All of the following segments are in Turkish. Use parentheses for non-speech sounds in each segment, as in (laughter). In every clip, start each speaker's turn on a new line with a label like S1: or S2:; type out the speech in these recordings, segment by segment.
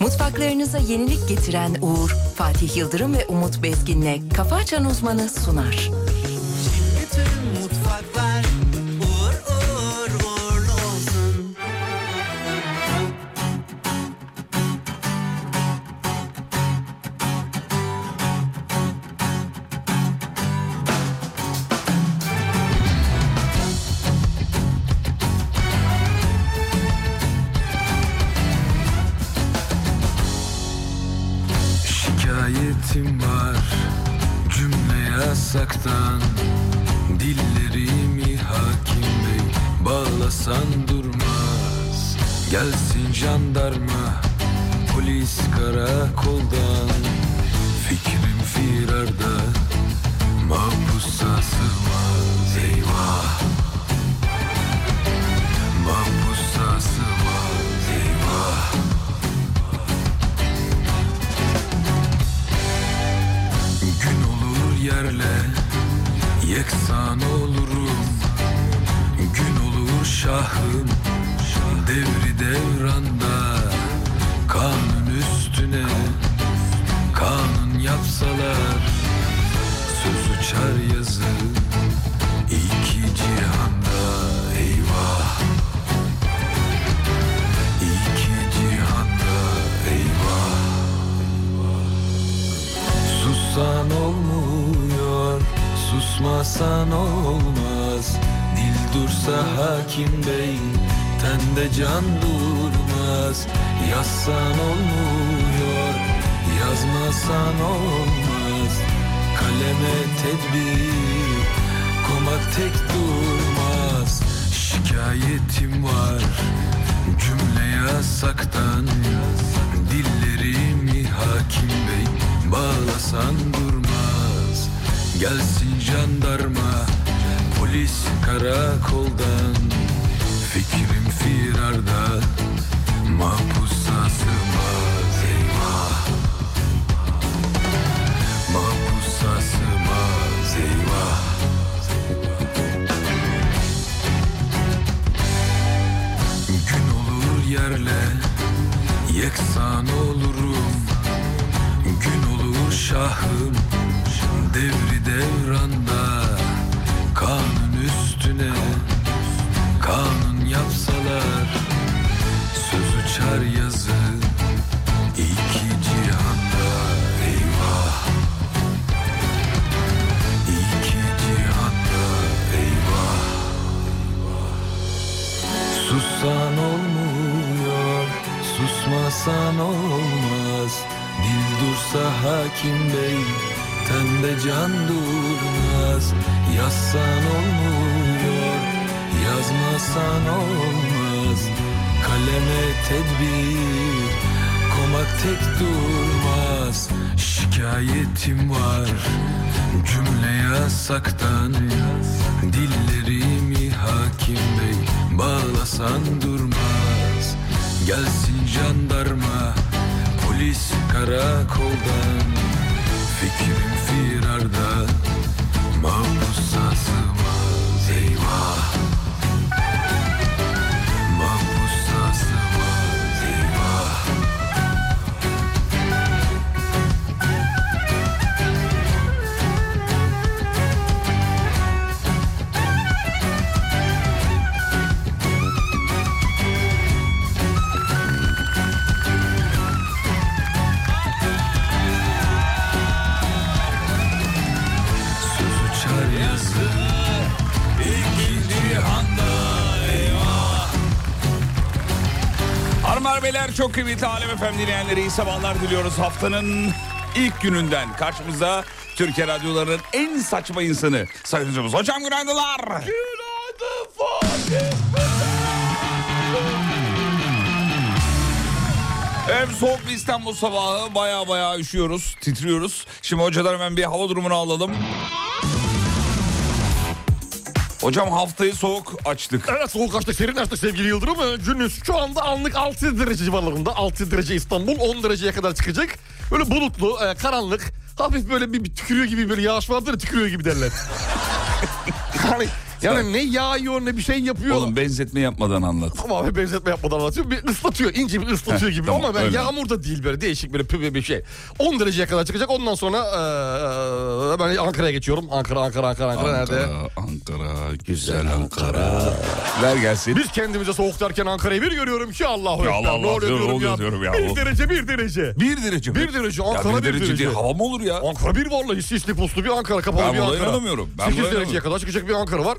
S1: Mutfaklarınıza yenilik getiren Uğur, Fatih Yıldırım ve Umut Bezgin'le Kafa Açan Uzmanı sunar.
S2: Bütün mutfaklar uğur uğur uğurlu olsun.
S3: Şikayetim var cümle yasaktan Dillerimi hakim bey bağlasan durmaz Gelsin jandarma polis karakoldan Fikrim firarda mahpusa sığmaz Eyvah mahpusa sığmaz Eyvah Gün olur yerle yeksan olurum Gün olur şahım devri devranda Kanun üstüne kanun yapsalar Söz uçar yazı iki cihanda eyvah İki cihanda eyvah Sussan olmuyor, susmasan olmaz Dil dursa hakim bey, tende can durmaz Yazsan olmuyor, yazmasan olmaz Kaleme tedbir, komak tek durmaz Şikayetim var, cümle yasaktan Dillerimi hakim bey bağlasan durmaz Gelsin jandarma polis karakoldan Fikrim firarda mahpusa sığmaz eyvah Mahpusa sığmaz eyvah Gün olur yerle yeksan olurum Gün olur şahım devri devranda Kanun üstüne kanun yapsalar Söz uçar yazı iki cihanda eyvah İki cihanda eyvah Sussan olmuyor, susmasan olmaz Dil dursa hakim bey, tende can durmaz Yazsan olmuyor, yazmasan olmaz Kaleme tedbir, komak tek durmaz Şikayetim var, cümle yasaktan Dillerimi hakim bey bağlasan durmaz Gelsin jandarma polis karakoldan Fikrim firarda mahpusa sığmaz eyvah Mahpusa sığmaz eyvah Söz uçar yazı İki cihanda
S4: Harunlar Beyler çok kıymetli Alem Efendim dinleyenleri iyi sabahlar diliyoruz. Haftanın ilk gününden karşımızda Türkiye Radyoları'nın en saçma insanı Sayın Hocamız. Hocam günaydınlar. Hem soğuk bir İstanbul sabahı baya baya üşüyoruz, titriyoruz. Şimdi hocadan hemen bir hava durumunu alalım. Hocam haftayı soğuk açtık.
S5: Evet soğuk açtık serin açtık sevgili Yıldırım. Ee, Günümüz şu anda anlık 6 derece civarlarında. 6 derece İstanbul 10 dereceye kadar çıkacak. Böyle bulutlu e, karanlık
S4: (laughs)
S5: hafif böyle bir, bir tükürüyor gibi böyle yağış vardır ya, tükürüyor gibi derler. hani Yani ne yağıyor ne bir şey yapıyor.
S4: Oğlum benzetme yapmadan anlat.
S5: Ama abi benzetme yapmadan anlatıyor. Bir ıslatıyor. ince bir ıslatıyor
S4: Heh,
S5: gibi.
S4: tamam,
S5: Ama ben
S4: öyle.
S5: yağmur da değil böyle değişik böyle pübe bir şey. 10 dereceye kadar çıkacak. Ondan sonra eee, ben Ankara'ya geçiyorum. Ankara, Ankara, Ankara, Ankara, nerede?
S4: Ankara, Ankara, güzel Ankara. Ver gelsin.
S5: Biz kendimize soğuk derken Ankara'yı bir görüyorum ki Allahu
S4: Ya
S5: Ekber.
S4: Allah
S5: ne
S4: Allah,
S5: oluyor
S4: diyorum,
S5: diyorum,
S4: oluyor diyorum ya.
S5: ya. Bir derece, bir derece.
S4: Bir derece mi?
S5: Bir derece,
S4: Ya
S5: Ankara bir derece.
S4: diye hava mı olur ya?
S5: Ankara bir vallahi sisli puslu bir Ankara kapalı
S4: Ben
S5: bir
S4: buna
S5: Ankara.
S4: inanamıyorum. Ben
S5: 8
S4: buna
S5: dereceye
S4: inanamıyorum.
S5: kadar çıkacak bir Ankara var.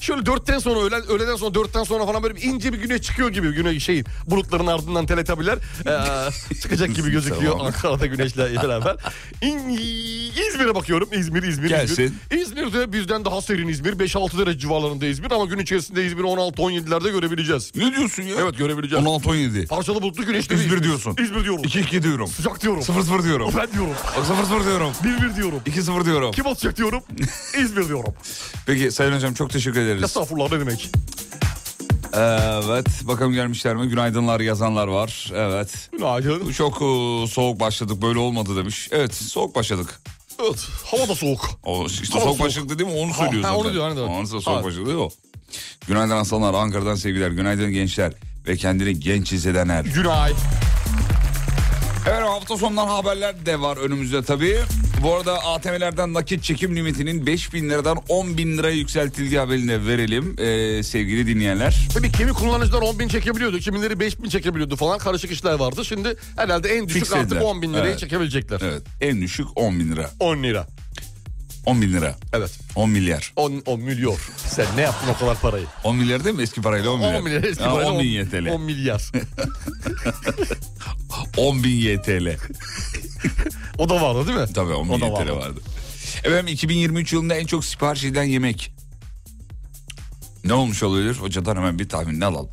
S5: Şöyle dörtten sonra öğlen, öğleden sonra dörtten sonra falan böyle bir ince bir güne çıkıyor gibi. Güne şey bulutların ardından teletabiler eee, (laughs) çıkacak gibi gözüküyor
S4: Tamam.
S5: Ankara'da güneşle beraber. İn- İzmir'e bakıyorum. İzmir, İzmir,
S4: Gelsin.
S5: İzmir. İzmir'de bizden daha serin İzmir. 5-6 derece civarlarında İzmir ama gün içerisinde İzmir 16-17'lerde görebileceğiz.
S4: Ne diyorsun ya?
S5: Evet, görebileceğiz.
S4: 16-17.
S5: Parçalı bulutlu güneşli. bir
S4: İzmir diyorsun.
S5: İzmir diyorum.
S4: 2-2 diyorum.
S5: Sıcak diyorum.
S4: 0-0 diyorum.
S5: Ben diyorum.
S4: 0-0 diyorum.
S5: 1-1 diyorum.
S4: 2-0 diyorum.
S5: Kim
S4: (laughs)
S5: atacak diyorum. İzmir diyorum.
S4: Peki Sayın Hocam çok teşekkür ederiz.
S5: Estağfurullah ne demek.
S4: Evet bakalım gelmişler mi? Günaydınlar yazanlar var. Evet.
S5: Günaydın.
S4: Çok e, soğuk başladık böyle olmadı demiş. Evet soğuk başladık.
S5: Evet. Hava da soğuk.
S4: O işte
S5: Hava
S4: soğuk
S5: soğuk.
S4: başlık dedi mi onu söylüyor
S5: ha,
S4: zaten.
S5: onu diyor, hani de.
S4: Ondan sonra soğuk
S5: Ha.
S4: başlık değil mi o. Günaydın aslanlar Ankara'dan sevgiler. Günaydın gençler ve kendini genç hissedenler.
S5: Günay.
S4: Evet hafta sonundan haberler de var önümüzde tabii. Bu arada ATM'lerden nakit çekim limitinin 5 bin liradan 10 bin liraya yükseltildiği haberini de verelim e, sevgili dinleyenler.
S5: Tabii kimi kullanıcılar 10 bin çekebiliyordu. Kimileri 5 bin çekebiliyordu falan. Karışık işler vardı. Şimdi herhalde en düşük
S4: Fixlediler.
S5: artık 10 bin lirayı
S4: Evet.
S5: çekebilecekler.
S4: Evet en düşük 10 bin lira.
S5: 10 lira.
S4: 10 bin lira.
S5: Evet.
S4: 10 milyar.
S5: 10, 10 milyar. Sen ne yaptın o kadar parayı?
S4: 10 milyar değil mi eski parayla 10 milyar?
S5: 10 milyar. Eski
S4: Ha,
S5: parayla
S4: 10 bin
S5: 10
S4: YTL. (laughs)
S5: 10 milyar.
S4: 10 bin YTL.
S5: o da vardı değil mi?
S4: Tabii 10 bin
S5: O da
S4: YTL vardı. Efendim 2023 yılında en çok sipariş edilen yemek. Ne olmuş olabilir? Hocadan hemen bir tahminini alalım.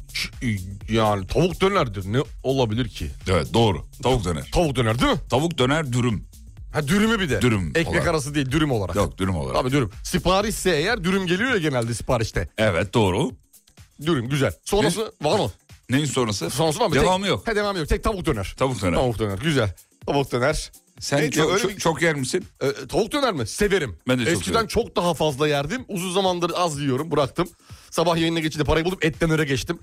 S5: Yani tavuk dönerdir. Ne olabilir ki?
S4: Evet doğru. Tavuk döner.
S5: Tavuk döner değil mi?
S4: Tavuk döner dürüm.
S5: Ha dürümü bir de.
S4: Dürüm
S5: Ekmek
S4: olarak.
S5: arası değil dürüm olarak.
S4: Yok dürüm olarak.
S5: Tabii dürüm. Siparişse eğer dürüm geliyor ya genelde siparişte.
S4: Evet doğru.
S5: Dürüm güzel. Sonrası var mı?
S4: Neyin sonrası?
S5: Sonrası var mı?
S4: Devamı
S5: Tek-
S4: yok.
S5: He devamı yok. Tek tavuk döner.
S4: Tavuk döner.
S5: Tavuk döner güzel. Tavuk döner.
S4: Sen
S5: Neyse,
S4: çok,
S5: öyle
S4: çok,
S5: bir-
S4: çok yer misin?
S5: Ee, tavuk döner mi? Severim.
S4: Ben de çok
S5: Eskiden
S4: severim.
S5: çok, daha fazla yerdim. Uzun zamandır az yiyorum. Bıraktım. Sabah yayınına geçince parayı bulup et
S4: (laughs)
S5: dönere geçtim.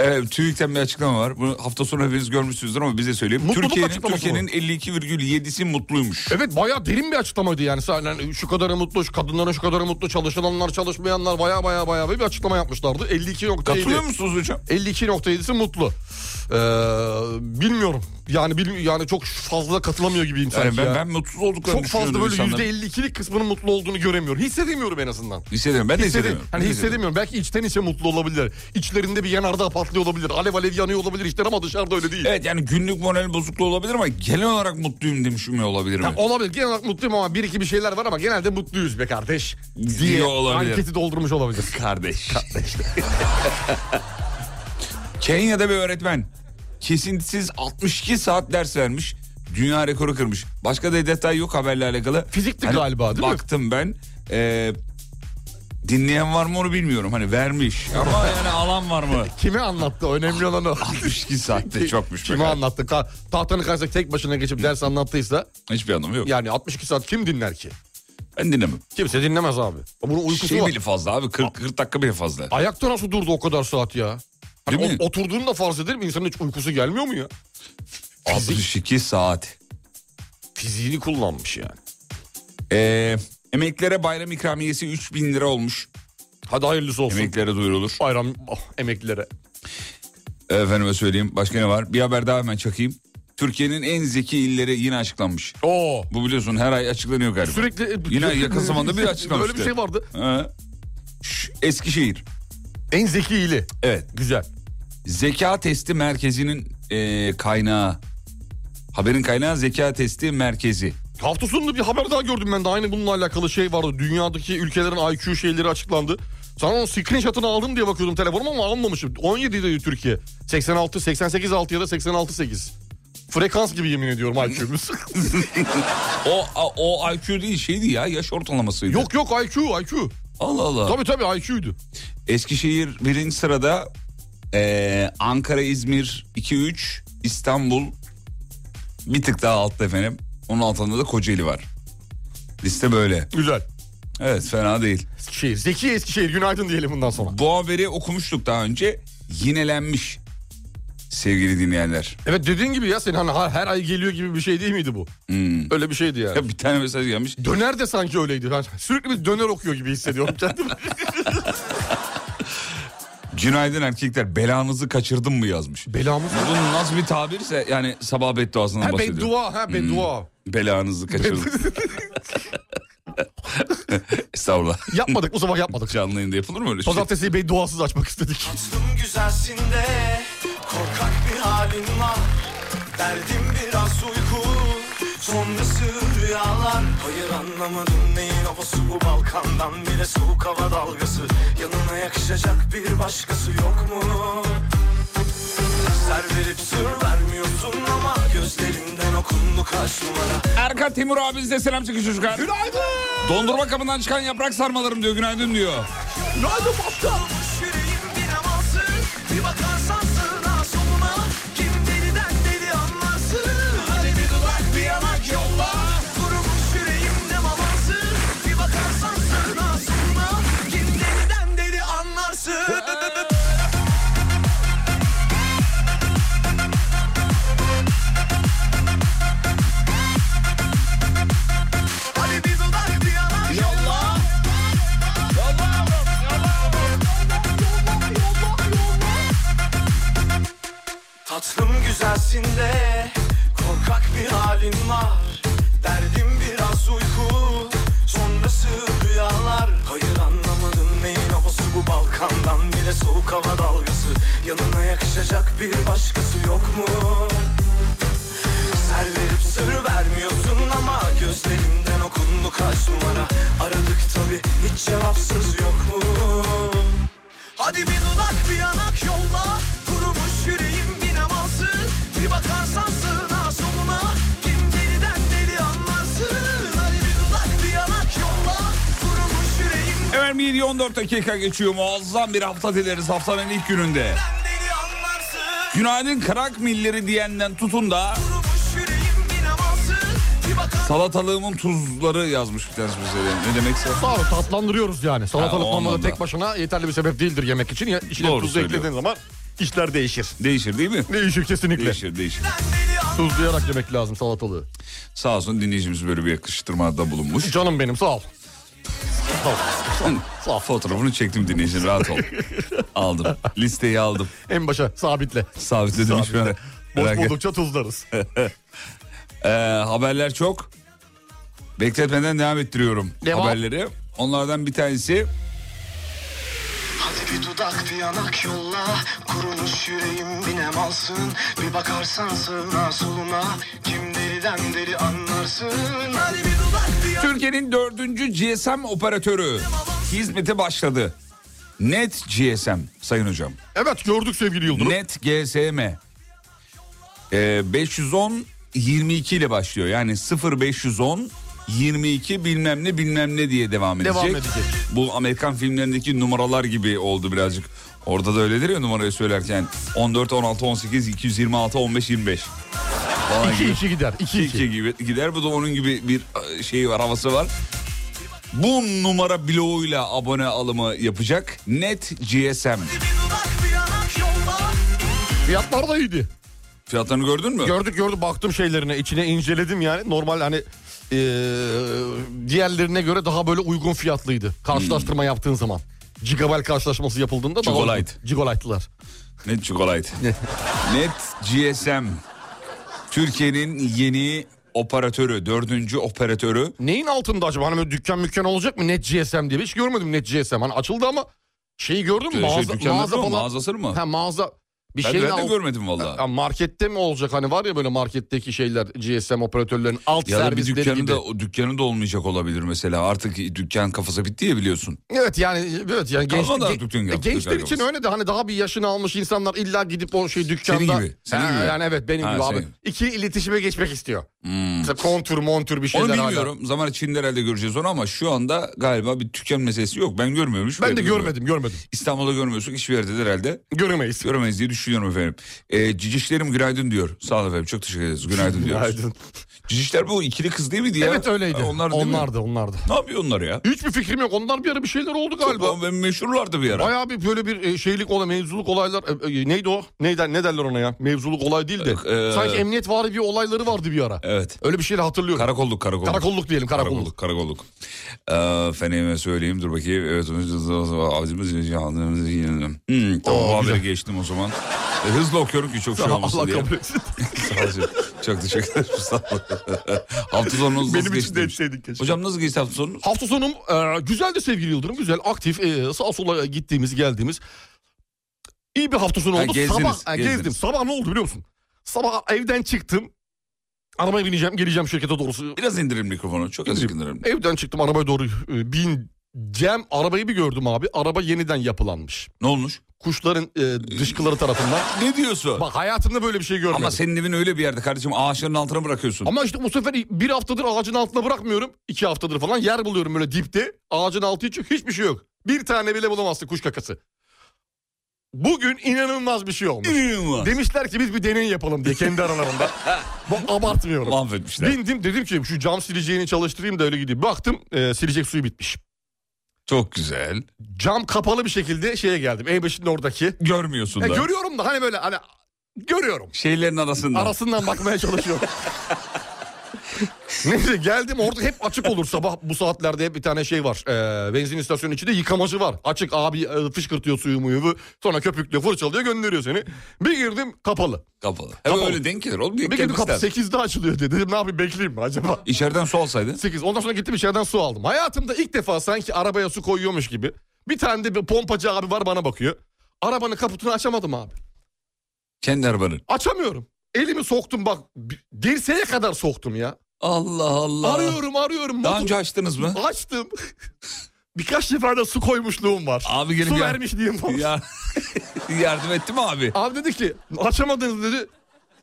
S4: Evet, TÜİK'ten bir açıklama var. Bunu hafta sonu hepiniz görmüşsünüzdür ama bize söyleyeyim.
S5: Mutluluk
S4: Türkiye'nin
S5: açıklaması
S4: Türkiye'nin 52,7'si mutluymuş.
S5: evet bayağı derin bir açıklamaydı yani. Sahnen şu kadarı mutlu, şu kadınların şu kadarı mutlu, çalışanlar, çalışmayanlar bayağı bayağı bayağı bir açıklama yapmışlardı. 52
S4: Katılıyor musunuz hocam?
S5: 52.7'si mutlu. Ee, bilmiyorum. Yani bilmi- yani çok fazla katılamıyor gibiyim sanki
S4: Yani ben,
S5: ya.
S4: ben mutsuz olduklarını
S5: çok fazla
S4: düşünüyorum
S5: böyle
S4: insanların.
S5: %52'lik kısmının mutlu olduğunu göremiyorum. Hissedemiyorum en azından.
S4: Hissediyorum. Ben de
S5: Hissedi-
S4: hissediyorum.
S5: Hani hissedemiyorum. Belki içten içe mutlu olabilir. İçlerinde bir yanardağ patlıyor olabilir. Alev alev yanıyor olabilir içten ama dışarıda öyle değil.
S4: Evet yani günlük moral bozukluğu olabilir ama genel olarak mutluyum demişim ya olabilir mi?
S5: Olabilir. Genel olarak mutluyum ama bir iki bir şeyler var ama genelde mutluyuz be kardeş.
S4: Diye olabilir.
S5: Anketi doldurmuş olabilir.
S4: (laughs) Kardeş. (laughs) Kenya'da bir öğretmen kesintisiz 62 saat ders vermiş. Dünya rekoru kırmış. Başka da detay yok haberle alakalı. Hani
S5: Fizikti galiba, değil mi?
S4: baktım ben. e, dinleyen var mı onu bilmiyorum. Hani vermiş ama yani alan var mı?
S5: (laughs) Kime anlattı? Önemli
S4: (laughs)
S5: olan o.
S4: 62 saatte çokmuş. be
S5: Kime
S4: kardeşim.
S5: anlattı? Ka- tahtanın karşısına tek başına geçip ders anlattıysa
S4: Hiçbir anlamı yok.
S5: yani 62 saat kim dinler ki?
S4: Ben dinlemem.
S5: Kimse dinlemez abi. Bunun uykusu
S4: şey
S5: var.
S4: bile fazla abi 40, 40 dakika bile fazla.
S5: Ayakta nasıl durdu o kadar saat ya? Hani
S4: Değil mi?
S5: o- oturduğunu da farz edelim insanın hiç uykusu gelmiyor mu ya?
S4: 62 saat.
S5: Fiziğini kullanmış yani.
S4: Ee, emeklere bayram ikramiyesi 3000 lira olmuş.
S5: Hadi hayırlısı olsun.
S4: Emeklere duyurulur.
S5: Bayram ah, emeklilere.
S4: Efendime söyleyeyim başka ne var? Bir haber daha hemen çakayım. Türkiye'nin en zeki illeri yine açıklanmış.
S5: Oo.
S4: Bu biliyorsun her ay açıklanıyor galiba.
S5: Sürekli
S4: Yine yakın zamanda bir açıklamıştı.
S5: Böyle bir şey vardı.
S4: Ha. Şş, Eskişehir.
S5: En zeki ili.
S4: Evet.
S5: Güzel.
S4: Zeka testi merkezinin e, kaynağı. Haberin kaynağı zeka testi merkezi.
S5: Hafta sonunda bir haber daha gördüm ben de aynı bununla alakalı şey vardı. Dünyadaki ülkelerin IQ şeyleri açıklandı. Sana onun screenshot'ını aldım diye bakıyordum telefonuma ama almamışım. 17 dedi Türkiye. 86, 88, 6 ya da 86, 8. Frekans gibi yemin ediyorum IQ'muz.
S4: (laughs) O a- o IQ değil şeydi ya yaş ortalamasıydı.
S5: yok yok IQ, IQ.
S4: Allah Allah.
S5: Tabii tabii IQ'ydu.
S4: Eskişehir birinci sırada. e, Ankara, İzmir 2-3. İstanbul bir tık daha altta efendim. Onun altında da Kocaeli var. Liste böyle.
S5: Güzel.
S4: Evet fena değil.
S5: Eskişehir. Zeki Eskişehir günaydın diyelim bundan sonra.
S4: Bu haberi okumuştuk daha önce. Yinelenmiş sevgili dinleyenler.
S5: Evet dediğin gibi ya senin hani ha- her ay geliyor gibi bir şey değil miydi bu?
S4: Hmm.
S5: Öyle bir şeydi yani.
S4: Ya bir tane mesaj gelmiş.
S5: Döner de sanki öyleydi. Ben sürekli bir döner okuyor gibi hissediyorum kendimi.
S4: (laughs) Günaydın erkekler belanızı kaçırdım mı yazmış.
S5: Belamız.
S4: Bu nasıl bir tabirse yani sabah bedduasından
S5: Ha
S4: bahsediyor. Hmm.
S5: beddua ha beddua.
S4: Belanızı kaçırdım. (laughs) Estağfurullah.
S5: Yapmadık bu sabah yapmadık.
S4: Canlı yayında yapılır mı öyle şey?
S5: Pazartesiyi bedduasız açmak istedik.
S6: Açtım güzelsin de korkak bir halin var Derdim biraz uyku sonrası rüyalar Hayır anlamadım neyin havası bu Balkan'dan bile soğuk hava dalgası Yanına yakışacak bir başkası yok mu? Ser verip sır vermiyorsun ama gözlerinden okundu kaç numara
S4: Erkan Timur abi size selam çekin çocuklar. Günaydın. Dondurma kabından çıkan yaprak sarmalarım diyor günaydın diyor.
S5: Günaydın başkan.
S6: Kalmış yüreğim bir amansın Bir bakarsan sığına soluna Kim deliden deli anlarsın Hadi bir dudak bir yanak yolla Kurumuş yüreğim ne mamansın Bir bakarsan sığına soluna Kim deliden deli anlarsın Hadi bir dudak bir yanak yolla Tatlım güzelsin de korkak bir halin var Derdim biraz uyku sonrası rüyalar Hayır anlamadım neyin havası bu Balkan'dan bile soğuk hava dalgası Yanına yakışacak bir başkası yok mu? Ser verip sır vermiyorsun ama gözlerimden okundu kaç numara Aradık tabi hiç cevapsız yok mu? Hadi bir dudak bir yanak yolla Kurumuş yüreğim bir amansın Bir bakarsan sığına soluna Kim deliden deli anlarsın Hadi bir dudak bir yanak yolla Kurumuş yüreğim
S4: Efendim 7-14 dakika geçiyor muazzam bir hafta dileriz haftanın ilk gününde.
S6: deli anlarsın
S4: Günaydın krak milleri diyenden tutun da
S6: Kurumuş yüreğim bir amansın Bir bakarsan
S4: salatalığımın tuzları yazmış bir tanesi bize. yani. Ne demekse.
S5: Sağ ol tatlandırıyoruz yani.
S4: Ha,
S5: Salatalık
S4: E, o
S5: normalde
S4: anlamda.
S5: tek başına yeterli bir sebep değildir yemek için. Ya, içine
S4: Doğru
S5: tuzu
S4: söylüyor.
S5: eklediğin zaman işler değişir.
S4: Değişir değil mi?
S5: Değişir kesinlikle.
S4: Değişir değişir.
S6: deli anlarsın
S5: Tuzlayarak yemek lazım salatalığı.
S4: Sağ olsun dinleyicimiz böyle bir yakıştırmada bulunmuş.
S5: Canım benim sağ ol.
S4: (laughs) Fotoğrafını çektim dinleyicinin
S5: (laughs)
S4: rahat ol. aldım. Listeyi aldım.
S5: En başa sabitle.
S4: Sabitledim hiç merak,
S5: Boş
S4: merak et.
S5: buldukça tuzlarız.
S4: (laughs) Ee, haberler çok. Bekletmeden devam ettiriyorum
S5: Devam.
S4: haberleri. Onlardan bir tanesi
S6: Hadi bir dudak bir yanak yolla Kurumuş yüreğim binem alsın Bir bakarsan sığına soluna Kim deliden deli anlarsın Hadi bir dudak bir yanak
S4: Türkiye'nin dördüncü GSM operatörü hizmete başladı. Net GSM sayın hocam.
S5: evet gördük sevgili Yıldırım.
S4: Net GSM. Ee, 510 22 ile başlıyor. Yani 0510 22 bilmem ne bilmem ne diye devam edecek.
S5: Devam edecek.
S4: Bu Amerikan filmlerindeki numaralar gibi oldu birazcık. Orada da öyledir ya numarayı söylerken 14 16 18 226 15 25. Falan
S5: 2
S4: gibi.
S5: 2 gider. 2
S4: 2
S5: 2.
S4: gibi gider. Bu da onun gibi bir e, şeyi var, havası var. Bu numara bloğuyla abone alımı yapacak. Net GSM.
S6: bir dudak bir yanak yolla
S5: Fiyatlar da iyiydi.
S4: Fiyatlarını gördün mü?
S5: Gördük gördük baktım şeylerine içine inceledim yani normal hani eee, diğerlerine göre daha böyle uygun fiyatlıydı.
S4: Hmm.
S5: Karşılaştırma yaptığın zaman. Gigabyte karşılaşması yapıldığında daha
S4: Gigolite.
S5: uygun. Gigolite'lılar.
S4: Net Chocolate. Net GSM. Türkiye'nin yeni operatörü, dördüncü operatörü.
S5: Neyin altında acaba? Hani böyle dükkan mükkan olacak mı? Net GSM diye. Hiç görmedim Net GSM. Hani açıldı ama şeyi gördün mü?
S4: Şey,
S5: Mağaza,
S4: dükkanları
S5: mağaza
S4: mı,
S5: falan.
S4: Mağazası mı?
S5: Ha mağaza. Bir
S4: ben,
S5: şeyin
S4: ben de
S5: alt-
S4: görmedim valla.
S5: Ya markette mi olacak hani var ya böyle marketteki şeyler GSM operatörlerin alt
S4: Ya da bir
S5: servisleri
S4: dükkanı
S5: gibi.
S4: da o dükkanı da olmayacak olabilir mesela. Artık dükkan kafası bitti ya biliyorsun.
S5: Evet yani evet yani genç,
S4: Kalmadı
S5: gen-
S4: artık dükkan yaptı
S5: gençler
S4: galiba.
S5: için öyle de hani daha bir yaşını almış insanlar illa gidip o şey dükkanda.
S4: gibi, senin
S5: Ha,
S4: gibi.
S5: Yani evet benim
S4: Ha,
S5: gibi abi.
S4: senin.
S5: İki iletişime geçmek istiyor.
S4: Hmm.
S5: Mesela kontür montür bir şeyler
S4: Onu
S5: hala.
S4: bilmiyorum. Zaman içinde herhalde göreceğiz onu ama şu anda galiba bir tükenme sesi yok. Ben görmüyorum. hiç
S5: Ben de
S4: haberim yok.
S5: görmedim görmedim.
S4: İstanbul'da görmüyorsun. Hiçbir yerde de herhalde
S5: Göremeyiz.
S4: göremeyiz diye düşünüyorum efendim. Ee, cicişlerim günaydın diyor. Sağ olun efendim. Çok teşekkür ederiz. Günaydın diyoruz.
S5: Günaydın.
S4: Cicişler bu ikili kız değil miydi ya?
S5: Evet öyleydi.
S4: Ha, Onlar değil mi?
S5: onlardı onlardı.
S4: Ne yapıyor onlar ya?
S5: Hiçbir fikrim yok. Onlar bir ara bir şeyler oldu galiba.
S4: Galiba meşhurlardı bir ara.
S5: Bayağı bir böyle bir e, şeylik olay, mevzuluk olaylar. e, e, Neydi o? Ne, der- ne derler ona ya? Mevzuluk olay değil de.
S4: Ee,
S5: Sanki emniyet vari bir olayları vardı bir ara.
S4: Evet.
S5: Öyle bir şeyle hatırlıyorum.
S4: Karakolluk karakolluk.
S5: Karakolluk diyelim karakolluk.
S4: Karakolluk, karakolluk. Ee, Efendime söyleyeyim dur bakayım. Evet, acımız hmm, tamam
S5: Oo,
S4: o
S5: güzel.
S4: haberi geçtim o zaman. E, Hızlı okuyorum ki çok şey olmasın
S5: (laughs) Allah
S4: diye.
S5: kabul etsin.
S4: (laughs) Sağ olun. Çok teşekkür ederim. Sağ olun. (laughs) Hafta sonunuz nasıl
S5: Benim için
S4: geçti?
S5: de etseydin keşke.
S4: Hocam nasıl geçti hafta sonunuz?
S5: Hafta sonum e, güzeldi sevgili Yıldırım. Güzel, aktif, e, sağa sola gittiğimiz, geldiğimiz. İyi bir hafta sonu
S4: Ha,
S5: oldu.
S4: gezdiniz,
S5: Sabah ha,
S4: gezdiniz.
S5: gezdim. Sabah ne oldu biliyor musun? Sabah evden çıktım. Arabaya bineceğim, geleceğim şirkete doğrusu.
S4: Biraz indirin mikrofonu. Çok azıcık indirin.
S5: Evden çıktım arabaya doğru e, bineceğim. Arabayı bir gördüm abi. Araba yeniden yapılanmış.
S4: Ne olmuş?
S5: Kuşların e, dışkıları tarafından.
S4: (laughs) Ne diyorsun?
S5: Bak hayatımda böyle bir şey görmedim.
S4: Ama
S5: Ama,
S4: senin evin öyle bir yerde kardeşim ağaçların altına bırakıyorsun.
S5: işte bu sefer bir haftadır ağacın altına bırakmıyorum. iki haftadır falan yer buluyorum böyle dipte. Ağacın altı hiç yok, hiçbir şey yok. Bir tane bile bulamazsın kuş kakası. Bugün inanılmaz bir şey olmuş.
S4: İnanılmaz.
S5: Demişler ki biz bir deney yapalım diye
S4: (laughs)
S5: kendi aralarında. Bu abartmıyorum.
S4: Mahvetmişler.
S5: Bindim dedim ki şu cam sileceğini çalıştırayım da öyle gideyim. Baktım e, silecek suyu bitmiş.
S4: Çok güzel.
S5: cam kapalı bir şey. şekilde şeye geldim. E5'in oradaki.
S4: Görmüyorsun
S5: Ya
S4: da.
S5: görüyorum da hani böyle hani görüyorum.
S4: Şeylerin arasında.
S5: Arasından
S4: (laughs)
S5: bakmaya çalışıyorum. (laughs) Neyse geldim orada hep açık olur sabah bu saatlerde hep bir tane şey var. Ee, benzin istasyonu içinde yıkamacı var. Açık abi e, fışkırtıyor suyu muyu sonra köpüklüyor fırçalıyor gönderiyor seni. Bir girdim kapalı.
S4: Kapalı. Hep
S5: Kapalı.
S4: öyle denk gelir oğlum. Denk
S5: Bir girdim
S4: gelmez
S5: kapı
S4: lazım.
S5: 8'de açılıyor dedi. Dedim ne yapayım bekleyeyim mi acaba?
S4: İçeriden su alsaydın.
S5: 8. Ondan sonra gittim içeriden su aldım. Hayatımda ilk defa sanki arabaya su koyuyormuş gibi. Bir tane de bir pompacı abi var bana bakıyor. Arabanın kaputunu açamadım abi.
S4: Kendi arabanın.
S5: Açamıyorum. Elimi soktum bak bir- dirseğe kadar soktum ya.
S4: Allah Allah.
S5: Arıyorum arıyorum.
S4: Daha
S5: Motor-
S4: önce açtınız mı?
S5: Açtım. Birkaç defa da su koymuşluğum var.
S4: Abi gelip
S5: su
S4: ya- (laughs)
S5: vermişliğim var.
S4: Ya, yardım etti mi abi?
S5: Abi dedi ki açamadınız dedi.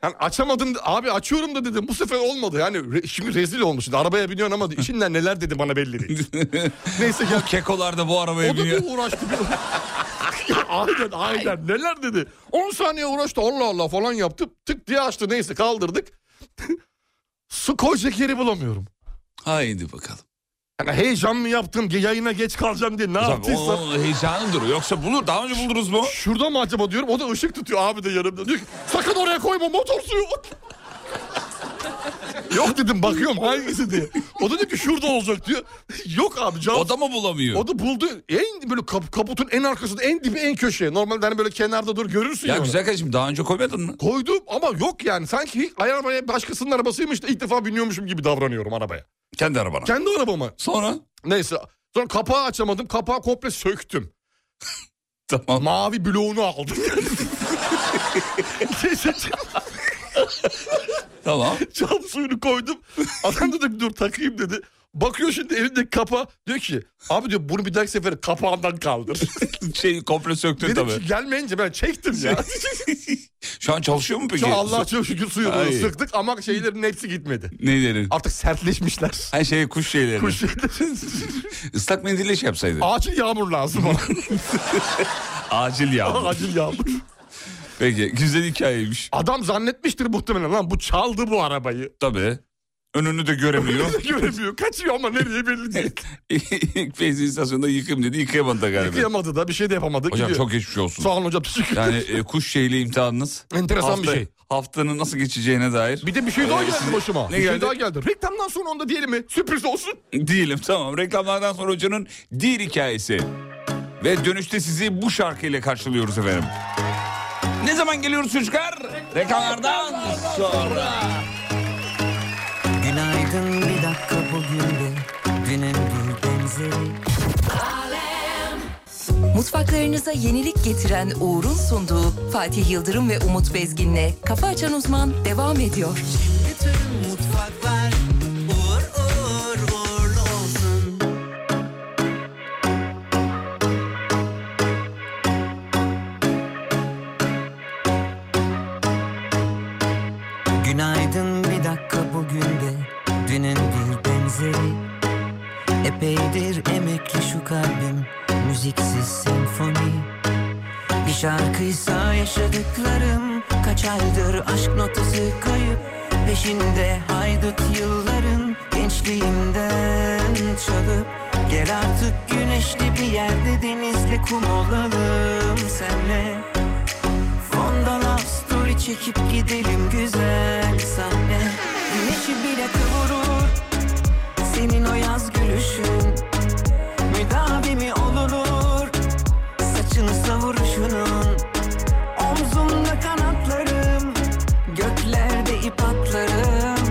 S5: Yani açamadım de- abi açıyorum da dedim bu sefer olmadı yani re- şimdi rezil olmuşsun arabaya biniyorsun ama içinden neler dedi bana
S4: (laughs)
S5: belli değil. Neyse gel
S4: Kekolar da bu arabaya
S5: O da
S4: biniyor.
S5: bir uğraştı. bir- (laughs) Ya aynen aynen neler dedi. 10 saniye uğraştı Allah Allah falan yaptı. Tık diye açtı neyse kaldırdık. (laughs) Su koyacak yeri bulamıyorum.
S4: Haydi bakalım.
S5: Yani heyecan mı yaptım yayına geç kalacağım diye ne
S4: Tabii
S5: yaptıysam.
S4: o heyecanı durur. Yoksa bulur. Daha önce buldunuz mu?
S5: Şurada mı acaba diyorum o da ışık tutuyor abi de yanımda. Diyor ki sakın oraya koyma motor suyu. Yok dedim bakıyorum hangisi diye. O da diyor ki şurada olacak diyor. Yok abi cam
S4: O da mı bulamıyor?
S5: O da buldu. En böyle kap- kaputun en arkasında en dibi en köşeye. Normalde hani böyle kenarda dur görürsün ya.
S4: ya
S5: onu.
S4: güzel kardeşim daha önce koymadın mı?
S5: Koydum ama yok yani sanki arabaya başkasının arabasıymış da ilk defa biniyormuşum gibi davranıyorum arabaya.
S4: Kendi arabana.
S5: Kendi arabama.
S4: Sonra?
S5: Neyse sonra kapağı açamadım kapağı komple söktüm.
S4: (laughs) Tamam.
S5: Mavi bloğunu aldım. Neyse
S4: (laughs) Tamam.
S5: cam suyunu koydum. Adam dedi dur takayım dedi. Bakıyor şimdi elindeki kapağı diyor ki abi diyor bunu bir dahaki sefere kapağından kaldır.
S4: (laughs) Şey komple söktün
S5: Dedim
S4: tabii.
S5: ki gelmeyince ben çektim ya.
S4: (laughs) Şu an çalışıyor mu peki?
S5: Şu Allah çok şükür suyu
S4: Ay.
S5: sıktık ama şeylerin hepsi gitmedi.
S4: Neyleri?
S5: Artık sertleşmişler.
S4: Her şey kuş şeyleri.
S5: Kuş şeyleri.
S4: (laughs) Islak mendille şey yapsaydı.
S5: Acil yağmur lazım bana.
S4: (laughs) Acil ya.
S5: (laughs) Acil yağmur.
S4: Peki güzel hikayeymiş.
S5: Adam zannetmiştir muhtemelen lan bu çaldı bu arabayı.
S4: Tabii. Önünü de göremiyor.
S5: Göremiyor. Kaçıyor ama nereye belli değil.
S4: İlk (laughs) benzin istasyonunda yıkayım dedi. Yıkayamadı da galiba.
S5: Yıkayamadı da bir şey de yapamadı.
S4: Hocam
S5: gidiyor.
S4: çok geçmiş olsun.
S5: Sağ olun hocam teşekkür
S4: Yani
S5: ederim.
S4: e, kuş şeyle imtihanınız.
S5: Enteresan bir şey.
S4: Haftanın nasıl geçeceğine dair.
S5: Bir de bir şey daha
S4: Ee,
S5: geldi
S4: size-
S5: başıma.
S4: Ne
S5: bir şey
S4: geldi?
S5: daha geldi. Reklamdan sonra onda diyelim mi? Sürpriz olsun.
S4: Değilim tamam. Reklamlardan sonra hocanın diğer hikayesi. Ve dönüşte sizi bu şarkıyla karşılıyoruz efendim. Ne zaman geliyoruz çocuklar? Reklamlardan sonra.
S7: Günaydın bir dakika bugün de Dünün bir benzeri
S1: Mutfaklarınıza yenilik getiren Uğur'un sunduğu Fatih Yıldırım ve Umut Bezgin'le Kafa Açan Uzman devam ediyor.
S7: Bütün mutfaklar uğur uğur uğurlu olsun Günaydın bir dakika bugün de Dünün bir benzeri Epeydir emekli şu kalbim Müziksiz senfoni Bir şarkıysa yaşadıklarım Kaç aydır aşk notası kayıp Peşinde haydut yılların Gençliğimden çalıp Gel artık güneşli bir yerde Denizli kum olalım senle Fonda love story çekip gidelim güzel sahne Güneşi bile kıvırır senin o yaz gülüşün Müdavimi olunur saçın savuruşunun Omzumda kanatlarım göklerde ip atlarım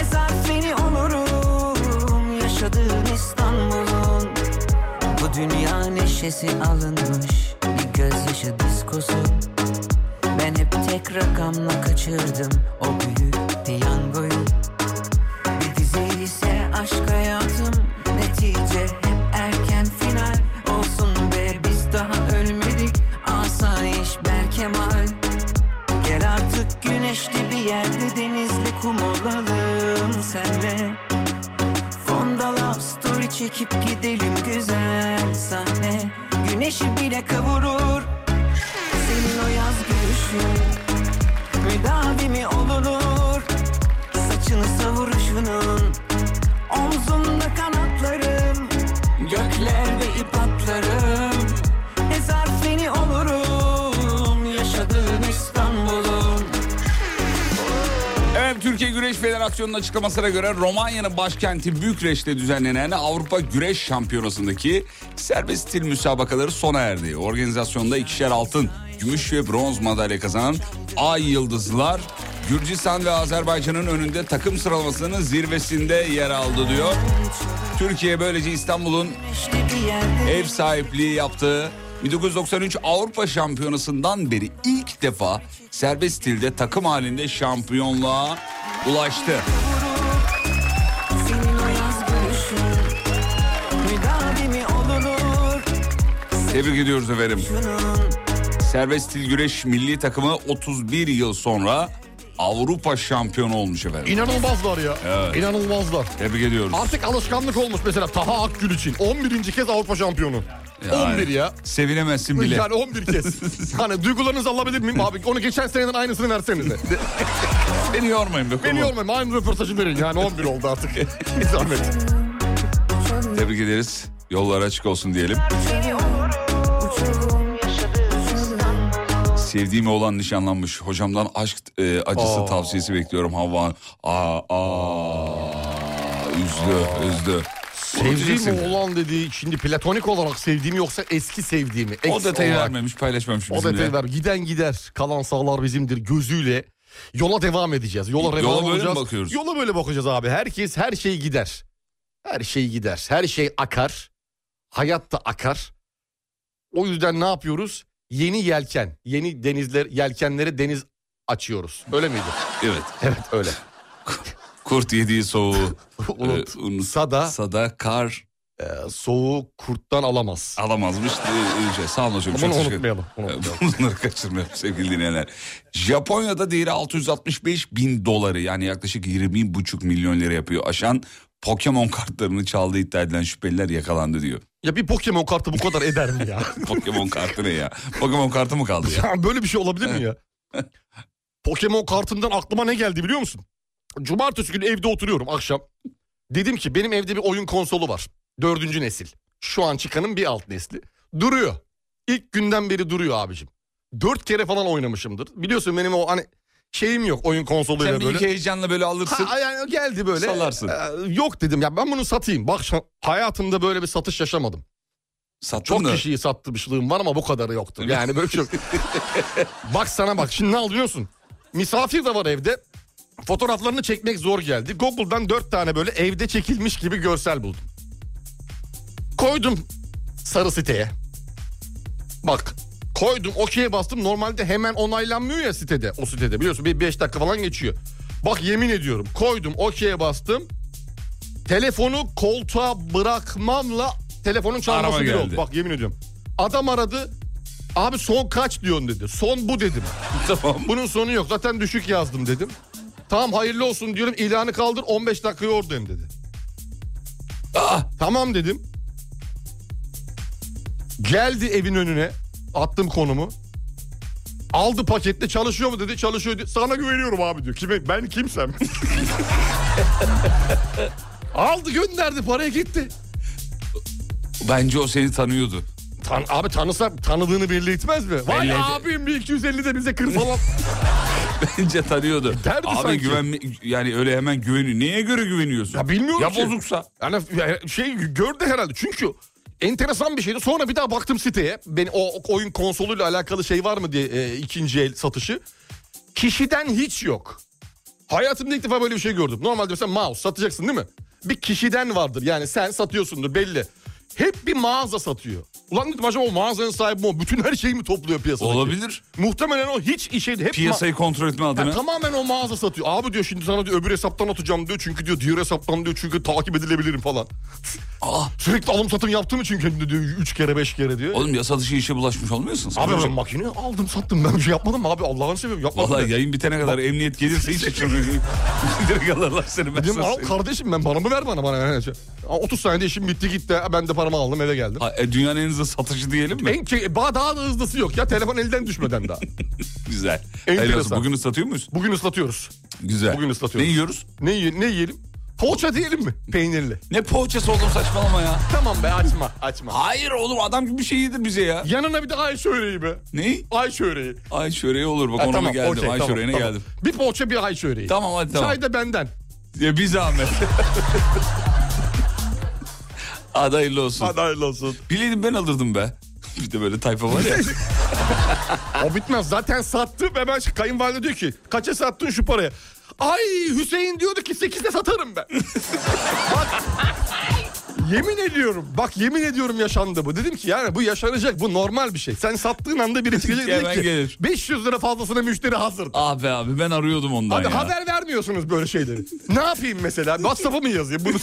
S7: Esafeni olurum yaşadığım İstanbul'un Bu dünya neşesi alınmış bir gözyaşı diskosu ben hep tek rakamla kaçırdım o büyük piyangoyu Bir dizi ise aşk hayatım netice hep erken final Olsun be biz daha ölmedik asayiş berkemal Gel artık güneşli bir yerde denizli kum olalım senle Fonda love story çekip gidelim güzel sahne Güneşi bile kavurur senin o yaz gülüşün Müdavimi olunur Saçını savuruşunun Omzumda kanatlarım Göklerde ip atlarım Ezer seni olurum Yaşadığın İstanbul'un
S4: Evet Türkiye Güreş Federasyonu'nun açıklamasına göre Romanya'nın başkenti Bükreş'te düzenlenen Avrupa Güreş Şampiyonası'ndaki serbest stil müsabakaları sona erdi. Organizasyonda ikişer altın, gümüş ve bronz madalya kazanan Ay Yıldızlar Gürcistan ve Azerbaycan'ın önünde takım sıralamasının zirvesinde yer aldı diyor. Türkiye böylece İstanbul'un
S7: İşte bir yerde
S4: ev sahipliği yaptığı 1993 Avrupa Şampiyonası'ndan beri ilk defa serbest stilde takım halinde şampiyonluğa ulaştı.
S7: Senin o yaz gülüşün
S5: E-
S7: Müdavimi olunur
S4: Tebrik ediyoruz efendim.
S7: Günün
S4: Serbest stil güreş milli takımı 31 yıl sonra Avrupa şampiyonu olmuş efendim.
S5: İnanılmazlar ya. İnanılmazlar.
S4: Tebrik ediyoruz.
S5: Artık alışkanlık olmuş mesela Taha Akgül için. 11. kez Avrupa şampiyonu.
S4: Yani
S5: 11 ya.
S4: Sevinemezsin bile.
S5: Yani 11 (laughs) kez. hani duygularınızı alabilir miyim abi? Onu geçen seneden aynısını verseniz de.
S4: Beni yormayın be.
S5: (laughs) Beni
S4: kurban.
S5: yormayın. Aynı röportajı verin. Yani 11 oldu (laughs) artık. Bir zahmet.
S4: Tebrik ederiz. Yollar açık olsun diyelim. Sevdiğim olan nişanlanmış. Hocamdan aşk e, acısı tavsiyesi bekliyorum Havva. Aa, aa, üzdü, üzdü. Seveceksin.
S5: Sevdiğim olan dediği şimdi platonik olarak sevdiğimi yoksa eski sevdiğimi.
S4: O
S5: ex
S4: detayı
S5: olarak.
S4: vermemiş, paylaşmamış
S5: O
S4: bizimle.
S5: detayı ver. Giden gider. Kalan sağlar bizimdir gözüyle. Yola devam edeceğiz. Yola,
S4: Yola
S5: revan
S4: böyle mi
S5: olacağız.
S4: bakıyoruz?
S5: Yola böyle bakacağız abi. Herkes her şey gider. Her şey gider. Her şey akar. Hayat da akar. O yüzden ne yapıyoruz? Yeni yelken, yeni denizler, yelkenlere deniz açıyoruz. Öyle miydi?
S4: Evet.
S5: Evet öyle.
S4: Kurt yediği soğuğu.
S5: (laughs) Unut.
S4: e, unut-
S5: Sada
S4: Sada kar
S5: e, soğuğu kurttan alamaz.
S4: alamazmış. E, e, şey, sağ olun hocam. çok
S5: Bunu
S4: teşekkür- E,
S5: unutmayalım. unutmayalım.
S4: (laughs) Bunları kaçırmayalım sevgili dinleyenler. Japonya'da değeri 665 bin doları yani yaklaşık 20,5 milyon lira yapıyor aşan Pokemon kartlarını çaldığı iddia edilen şüpheliler yakalandı diyor. (laughs)
S5: Ya bir Pokemon kartı bu kadar eder mi ya?
S4: Pokemon kartı ne ya? Pokemon kartı mı kaldı
S5: (laughs)
S4: ya?
S5: Ya böyle bir şey olabilir mi
S4: (laughs)
S5: ya? Pokemon kartından aklıma ne geldi biliyor musun? Cumartesi günü evde oturuyorum akşam. Dedim ki benim evde bir oyun konsolu var. Dördüncü nesil. Şu an çıkanın bir alt nesli. Duruyor. İlk günden beri duruyor abicim. Dört kere falan oynamışımdır. Biliyorsun benim o hani şeyim yok oyun konsoluyla
S4: Sen bir
S5: böyle.
S4: iki heyecanla böyle alırsın.
S5: Ha, yani geldi böyle.
S4: Salarsın.
S5: Ee, yok dedim ya ben bunu satayım. Bak şa- hayatımda böyle bir satış yaşamadım.
S4: Sattın
S5: Çok
S4: da.
S5: kişiyi satmışlığım var ama bu kadarı yoktur. Yani böyle bir şey yok. bak sana bak şimdi ne alıyorsun? Misafir de var evde. Fotoğraflarını çekmek zor geldi. Google'dan dört tane böyle evde çekilmiş gibi görsel buldum. Koydum sarı siteye. Bak koydum okey'e bastım. Normalde hemen onaylanmıyor ya sitede. O sitede biliyorsun bir beş dakika falan geçiyor. Bak yemin ediyorum koydum okey'e bastım. Telefonu koltuğa bırakmamla telefonun çalması
S4: Arama
S5: bir oldu.
S4: geldi.
S5: Bak yemin ediyorum. Adam aradı. Abi son kaç diyorsun dedi. Son bu dedim.
S4: (laughs) Tamam.
S5: Bunun sonu yok. Zaten düşük yazdım dedim. Tamam hayırlı olsun diyorum ilanı kaldır 15 dakikaya oradayım dedi.
S4: Ah!
S5: Tamam dedim. Geldi evin önüne attım konumu. Aldı paketle çalışıyor mu dedi çalışıyor dedi. Sana güveniyorum abi diyor. Kime, ben kimsem. (laughs) Aldı gönderdi paraya gitti.
S4: Bence o seni tanıyordu.
S5: Tan- abi tanısa tanıdığını belli etmez mi? Vay
S4: Belli eder.
S5: abim bir 250 de bize kır falan.
S4: Bence tanıyordu.
S5: E, derdi
S4: Abi
S5: sanki.
S4: güvenme yani öyle hemen güveni. Neye göre güveniyorsun?
S5: Ya bilmiyorum
S4: ya
S5: ki.
S4: bozuksa.
S5: Yani ya şey gördü herhalde çünkü enteresan bir şeydi. Sonra bir daha baktım siteye. Ben o o oyun konsoluyla alakalı şey var mı diye e, ikinci el satışı. Kişiden hiç yok. Hayatımda ilk defa böyle bir şey gördüm. Normalde mesela mouse satacaksın değil mi? Bir kişiden vardır yani sen satıyorsundur belli. Hep bir mağaza satıyor. Ulan dedim acaba o mağazanın sahibi mi o? Bütün her şeyi mi topluyor piyasada?
S4: Olabilir.
S5: Muhtemelen o hiç işe... Hep ma-
S4: Piyasayı kontrol etme
S5: Ha,
S4: adına.
S5: tamamen o mağaza satıyor. Abi diyor şimdi sana diyor öbür hesaptan atacağım diyor. Çünkü diyor diğer hesaptan diyor çünkü takip edilebilirim falan. Sürekli alım satım yaptı mı çünkü kendine diyor 3 kere 5 kere diyor.
S4: Ah. Oğlum ya satışı işe bulaşmış olmuyorsun.
S5: abi ben makine aldım sattım ben bir şey yapmadım abi Allah'ını seviyorum yapmadım.
S4: Valla
S5: ben.
S4: yayın bitene kadar emniyet gelirse hiç (laughs) şaşırmıyorum. Direkt alırlar seni ben
S5: Dedim
S4: sana
S5: al
S4: söyleyeyim.
S5: kardeşim ben paramı ver bana bana. Yani. Aa, 30 saniyede işim bitti gitti. Ha, Ben de paramı aldım eve geldim.
S4: Ha, e, dünyanın en hızlı satışı diyelim mi?
S5: En ke- daha daha da hızlısı yok ya telefon elden
S4: (laughs)
S5: düşmeden daha.
S4: Güzel.
S5: enteresan.
S4: Helal olsun. Bugünü satıyor muyuz?
S5: Bugün ıslatıyoruz.
S4: Güzel.
S5: Bugün ıslatıyoruz.
S4: Ne yiyoruz?
S5: Ne, yiye- ne yiyelim? Poğaça diyelim mi? Peynirli.
S4: Ne poğaçası oğlum saçmalama ya.
S5: tamam be açma açma.
S4: Hayır oğlum adam gibi bir şey yedir bize ya.
S5: Yanına bir de ayşe öreği be.
S4: Ne?
S5: Ayşe öreği.
S4: Ay şöreği olur bak
S5: Ha,
S4: ona mı geldim?
S5: okey,
S4: Ay
S5: tamam,
S4: şöreğine
S5: tamam.
S4: geldim.
S5: Bir poğaça bir ay şöreği.
S4: Tamam hadi tamam.
S5: Çay da benden.
S4: Ya bir zahmet. (laughs) Hadi hayırlı olsun.
S5: Hadi hayırlı olsun.
S4: Bileydim ben alırdım be. (laughs) bir de böyle tayfa var
S5: (laughs)
S4: ya.
S5: (laughs) O bitmez zaten sattı ve ben şey, kayınvalide diyor ki kaça sattın şu paraya? Ay Hüseyin diyordu ki 8'de
S4: (laughs)
S5: satarım ben. bak yemin ediyorum bak yemin ediyorum yaşandı bu. Dedim ki yani bu yaşanacak bu normal bir şey. Sen sattığın
S4: (laughs)
S5: anda biri çıkacak
S4: Hemen
S5: diyecek ki
S4: gelir.
S5: 500 lira fazlasına müşteri hazır.
S4: abi Ah abi ben arıyordum ondan
S5: Abi
S4: ya.
S5: haber vermiyorsunuz böyle şeyleri. ne yapayım mesela? WhatsApp'a mı yazayım bunu?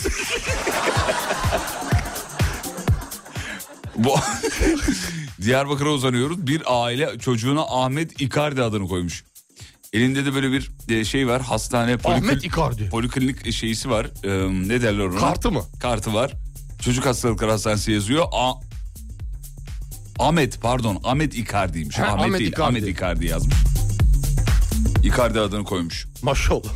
S4: Bu... (laughs) Diyarbakır'a uzanıyoruz. Bir aile çocuğuna Ahmet Icardi adını koymuş. Elinde de böyle bir e, şey var. Hastane poliklinik,
S5: (laughs) Ahmet Icardi.
S4: poliklinik şeysi var. Ee, ne derler ona?
S5: Kartı mı?
S4: Kartı var. Çocuk hastalıkları hastanesi yazıyor. A- Ahmet pardon Ahmet Icardi'ymiş.
S5: Ha,
S4: Ahmet,
S5: Ahmet
S4: değil
S5: Icardi.
S4: Ahmet Icardi yazmış. Icardi adını koymuş.
S5: Maşallah.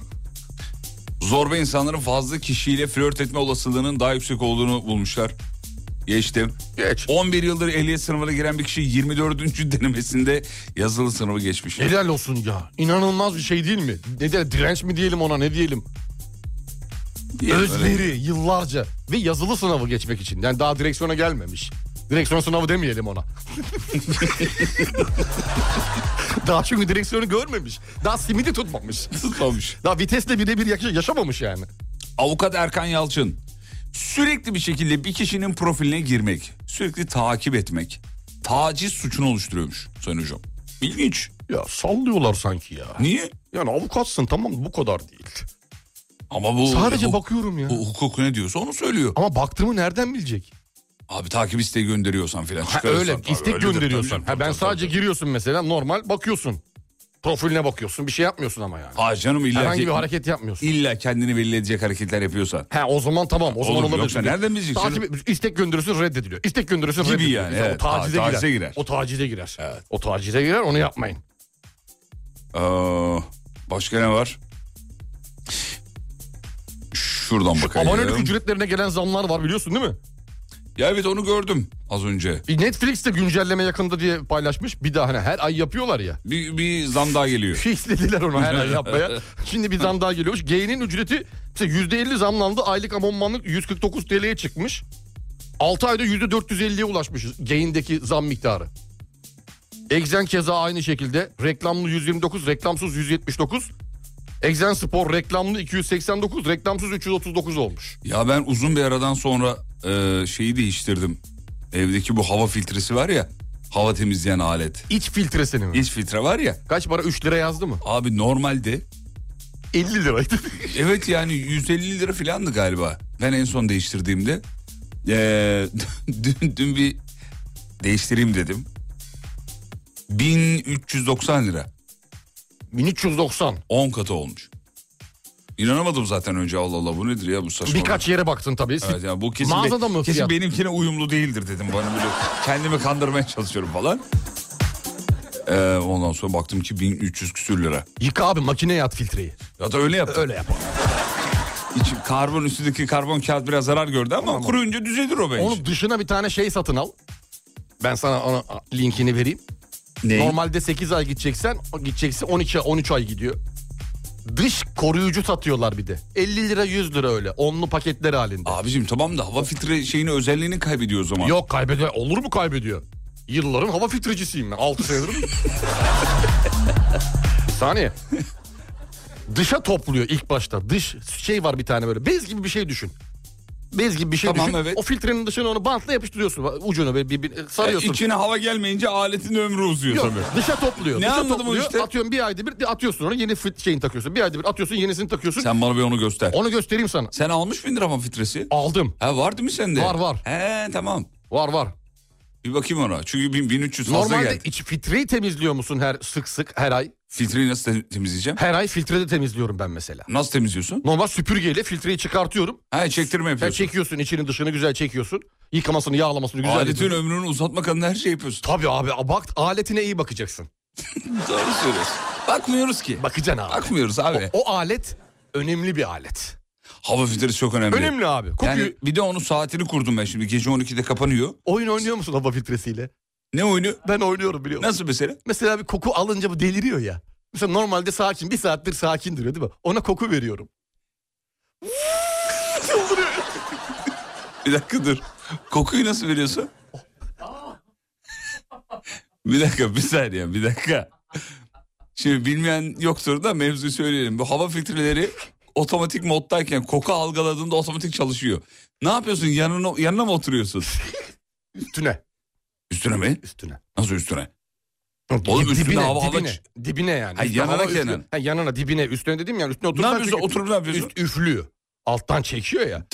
S4: Zorba insanların fazla kişiyle flört etme olasılığının daha yüksek olduğunu bulmuşlar. Geçtim.
S5: Geç.
S4: 11 yıldır ehliyet sınavına giren bir kişi 24. denemesinde yazılı sınavı geçmiş.
S5: Helal olsun ya. İnanılmaz bir şey değil mi? Ne de direnç mi diyelim ona ne diyelim?
S4: Diyelim öyle.
S5: Özveri yıllarca ve yazılı sınavı geçmek için. Yani daha direksiyona gelmemiş. Direksiyon sınavı demeyelim ona. (laughs) daha çünkü direksiyonu görmemiş. Daha simidi tutmamış.
S4: Tutmamış.
S5: Daha vitesle birebir yaşa- yaşamamış yani.
S4: Avukat Erkan Yalçın. Sürekli bir şekilde bir kişinin profiline girmek, sürekli takip etmek taciz suçunu oluşturuyormuş Sayın Hocam. İlginç.
S5: Ya sallıyorlar sanki ya.
S4: Niye?
S5: Yani avukatsın tamam bu kadar değil.
S4: Ama bu
S5: Sadece
S4: bu-
S5: bakıyorum ya.
S4: bu hukuk ne diyorsa onu söylüyor.
S5: Ama baktığımı nereden bilecek?
S4: Abi takip isteği gönderiyorsan filan
S5: Ha,
S4: çıkarırsan.
S5: öyle
S4: tabii,
S5: istek
S4: öyledir
S5: gönderiyorsun.
S4: tabii.
S5: Ha, ben
S4: Tabii,
S5: sadece
S4: tabii.
S5: giriyorsun mesela normal bakıyorsun. Profiline bakıyorsun bir şey yapmıyorsun ama yani.
S4: Hayır canım illa,
S5: Herhangi
S4: ki-
S5: bir hareket yapmıyorsun.
S4: illa kendini belli edecek hareketler yapıyorsan.
S5: Ha o zaman tamam o zaman
S4: Oğlum,
S5: olabilir.
S4: yoksa
S5: Çünkü
S4: nereden bileceksin?
S5: Takip, istek gönderiyorsun reddediliyor. İstek gönderiyorsun
S4: Gibi
S5: reddediliyor.
S4: yani,
S5: Mesela
S4: evet.
S5: O tacize,
S4: Ha, tacize
S5: girer.
S4: girer.
S5: O tacize girer.
S4: Evet.
S5: O tacize girer onu yapmayın.
S4: Ee, başka ne var? Şuradan bakayım.
S5: Abonelik ücretlerine gelen zamlar var biliyorsun değil mi?
S4: Ya evet onu gördüm az önce.
S5: E, Netflix de güncelleme yakında diye paylaşmış. Bir daha hani her ay yapıyorlar ya.
S4: Bir, bir zam daha geliyor.
S5: Fixlediler Şey onu
S4: (laughs)
S5: her ay yapmaya. Şimdi bir zam daha geliyormuş. G'nin ücreti mesela %50 zamlandı. Aylık abonmanlık 149 TL'ye çıkmış. 6 ayda %450'ye ulaşmışız Gain'deki zam miktarı. Exen keza aynı şekilde. Reklamlı 129, reklamsız 179. Exen Spor reklamlı 289, reklamsız 339 olmuş.
S4: Ya ben uzun bir aradan sonra e, şeyi değiştirdim. Evdeki bu hava filtresi var ya. Hava temizleyen alet.
S5: İç filtresini mi?
S4: İç filtre var ya.
S5: Kaç para? 3 lira yazdı mı?
S4: Abi normalde
S5: 50 liraydı.
S4: (laughs) Evet yani 150 lira filandı galiba. Ben en son değiştirdiğimde. Ee, (laughs) dün, dün bir değiştireyim dedim. 1390 lira.
S5: 1390.
S4: 10 katı olmuş. İnanamadım zaten önce Allah Allah bu nedir ya bu saçma.
S5: Birkaç yere baktın tabii.
S4: Evet ya bu kesin,
S5: Mağazada mı
S4: kesin
S5: fiyat?
S4: benimkine uyumlu değildir dedim bana böyle kendimi kandırmaya çalışıyorum falan. Ee, ondan sonra baktım ki 1300 küsür lira.
S5: Yıka abi makineye at filtreyi.
S4: Ya da öyle yaptım.
S5: Öyle yap.
S4: İçim- karbon üstündeki karbon kağıt biraz zarar gördü ama kuruyunca düzelir o bence.
S5: Onun dışına bir tane şey satın al. Ben sana ona linkini vereyim.
S4: Neyi?
S5: Normalde 8 ay gideceksen gideceksin 12 13 ay gidiyor. Dış koruyucu satıyorlar bir de. 50 lira 100 lira öyle. Onlu paketler halinde.
S4: Abicim tamam da hava filtre şeyini özelliğini kaybediyor o zaman.
S5: Yok kaybediyor. Olur mu kaybediyor? Yılların hava filtrecisiyim ben. 6 senedir.
S4: (laughs)
S5: Bir saniye. Dışa topluyor ilk başta. Dış şey var bir tane böyle. Bez gibi bir şey düşün. Bez gibi bir şey
S4: Tamam,
S5: düşün.
S4: evet.
S5: O filtrenin dışına onu bantla yapıştırıyorsun. Ucunu böyle bir, bir- sarıyorsun.
S4: E, içine hava gelmeyince aletin ömrü uzuyor
S5: Yok,
S4: tabii.
S5: dışa topluyor.
S4: Ne
S5: dışa
S4: anladım o
S5: topluyor.
S4: işte?
S5: Atıyorum bir ayda bir atıyorsun onu yeni fit şeyini takıyorsun. Bir ayda bir atıyorsun yenisini takıyorsun.
S4: Sen bana bir onu göster.
S5: Onu göstereyim sana.
S4: Sen almış mıydın hava filtresi?
S5: Aldım.
S4: Ha var değil mi sende?
S5: Var, var.
S4: He tamam.
S5: Var var.
S4: Bir bakayım ona. Çünkü bin- 1300 fazla
S5: Normalde
S4: geldi.
S5: iç filtreyi temizliyor musun her sık sık her ay?
S4: Filtreyi nasıl te- temizleyeceğim?
S5: Her ay filtrede temizliyorum ben mesela.
S4: Nasıl temizliyorsun?
S5: Normal süpürgeyle filtreyi çıkartıyorum.
S4: Ha çektirme
S5: Sen
S4: yapıyorsun.
S5: çekiyorsun içini dışını güzel çekiyorsun. Yıkamasını yağlamasını güzel
S4: Aletin
S5: yapıyorsun.
S4: ömrünü uzatmak adına her şey yapıyorsun.
S5: Tabii abi bak aletine iyi bakacaksın.
S4: (laughs) Doğru söylüyorsun. Bakmıyoruz ki.
S5: Bakacaksın abi.
S4: Bakmıyoruz abi.
S5: O alet önemli bir alet.
S4: Hava filtresi çok önemli.
S5: Önemli abi. Kokuyu...
S4: Yani bir de onun saatini kurdum ben şimdi. Gece 12'de kapanıyor. (laughs)
S5: Oyun oynuyor musun hava filtresiyle?
S4: Ne oyunu?
S5: Ben oynuyorum biliyor musun?
S4: Nasıl mesela?
S5: Mesela bir koku alınca bu deliriyor ya. Mesela normalde sakin bir saattir sakin duruyor değil mi? Ona koku veriyorum.
S4: Bir dakika dur. Kokuyu nasıl veriyorsun? (laughs) bir dakika bir saniye bir dakika. Şimdi bilmeyen yoktur da mevzuyu söyleyelim. Bu hava filtreleri otomatik moddayken koku algıladığında otomatik çalışıyor. Ne yapıyorsun? Yanına, yanına mı oturuyorsun?
S5: Üstüne.
S4: Üstüne mi?
S5: Üstüne.
S4: Nasıl üstüne?
S5: Di-
S4: üstüne
S5: dibine,
S4: hava- hava
S5: dibine,
S4: ç-
S5: dibine yani.
S4: Hayır,
S5: Üstüne
S4: yanına
S5: hava üflüyor.
S4: Kenan.
S5: Ha, yanına dibine üstüne dedim yani üstüne
S4: Ne
S5: oturursan
S4: yapıyorsun?
S5: çünkü
S4: Oturup ne yapıyorsun?
S5: üst üflüyor. Alttan çekiyor ya.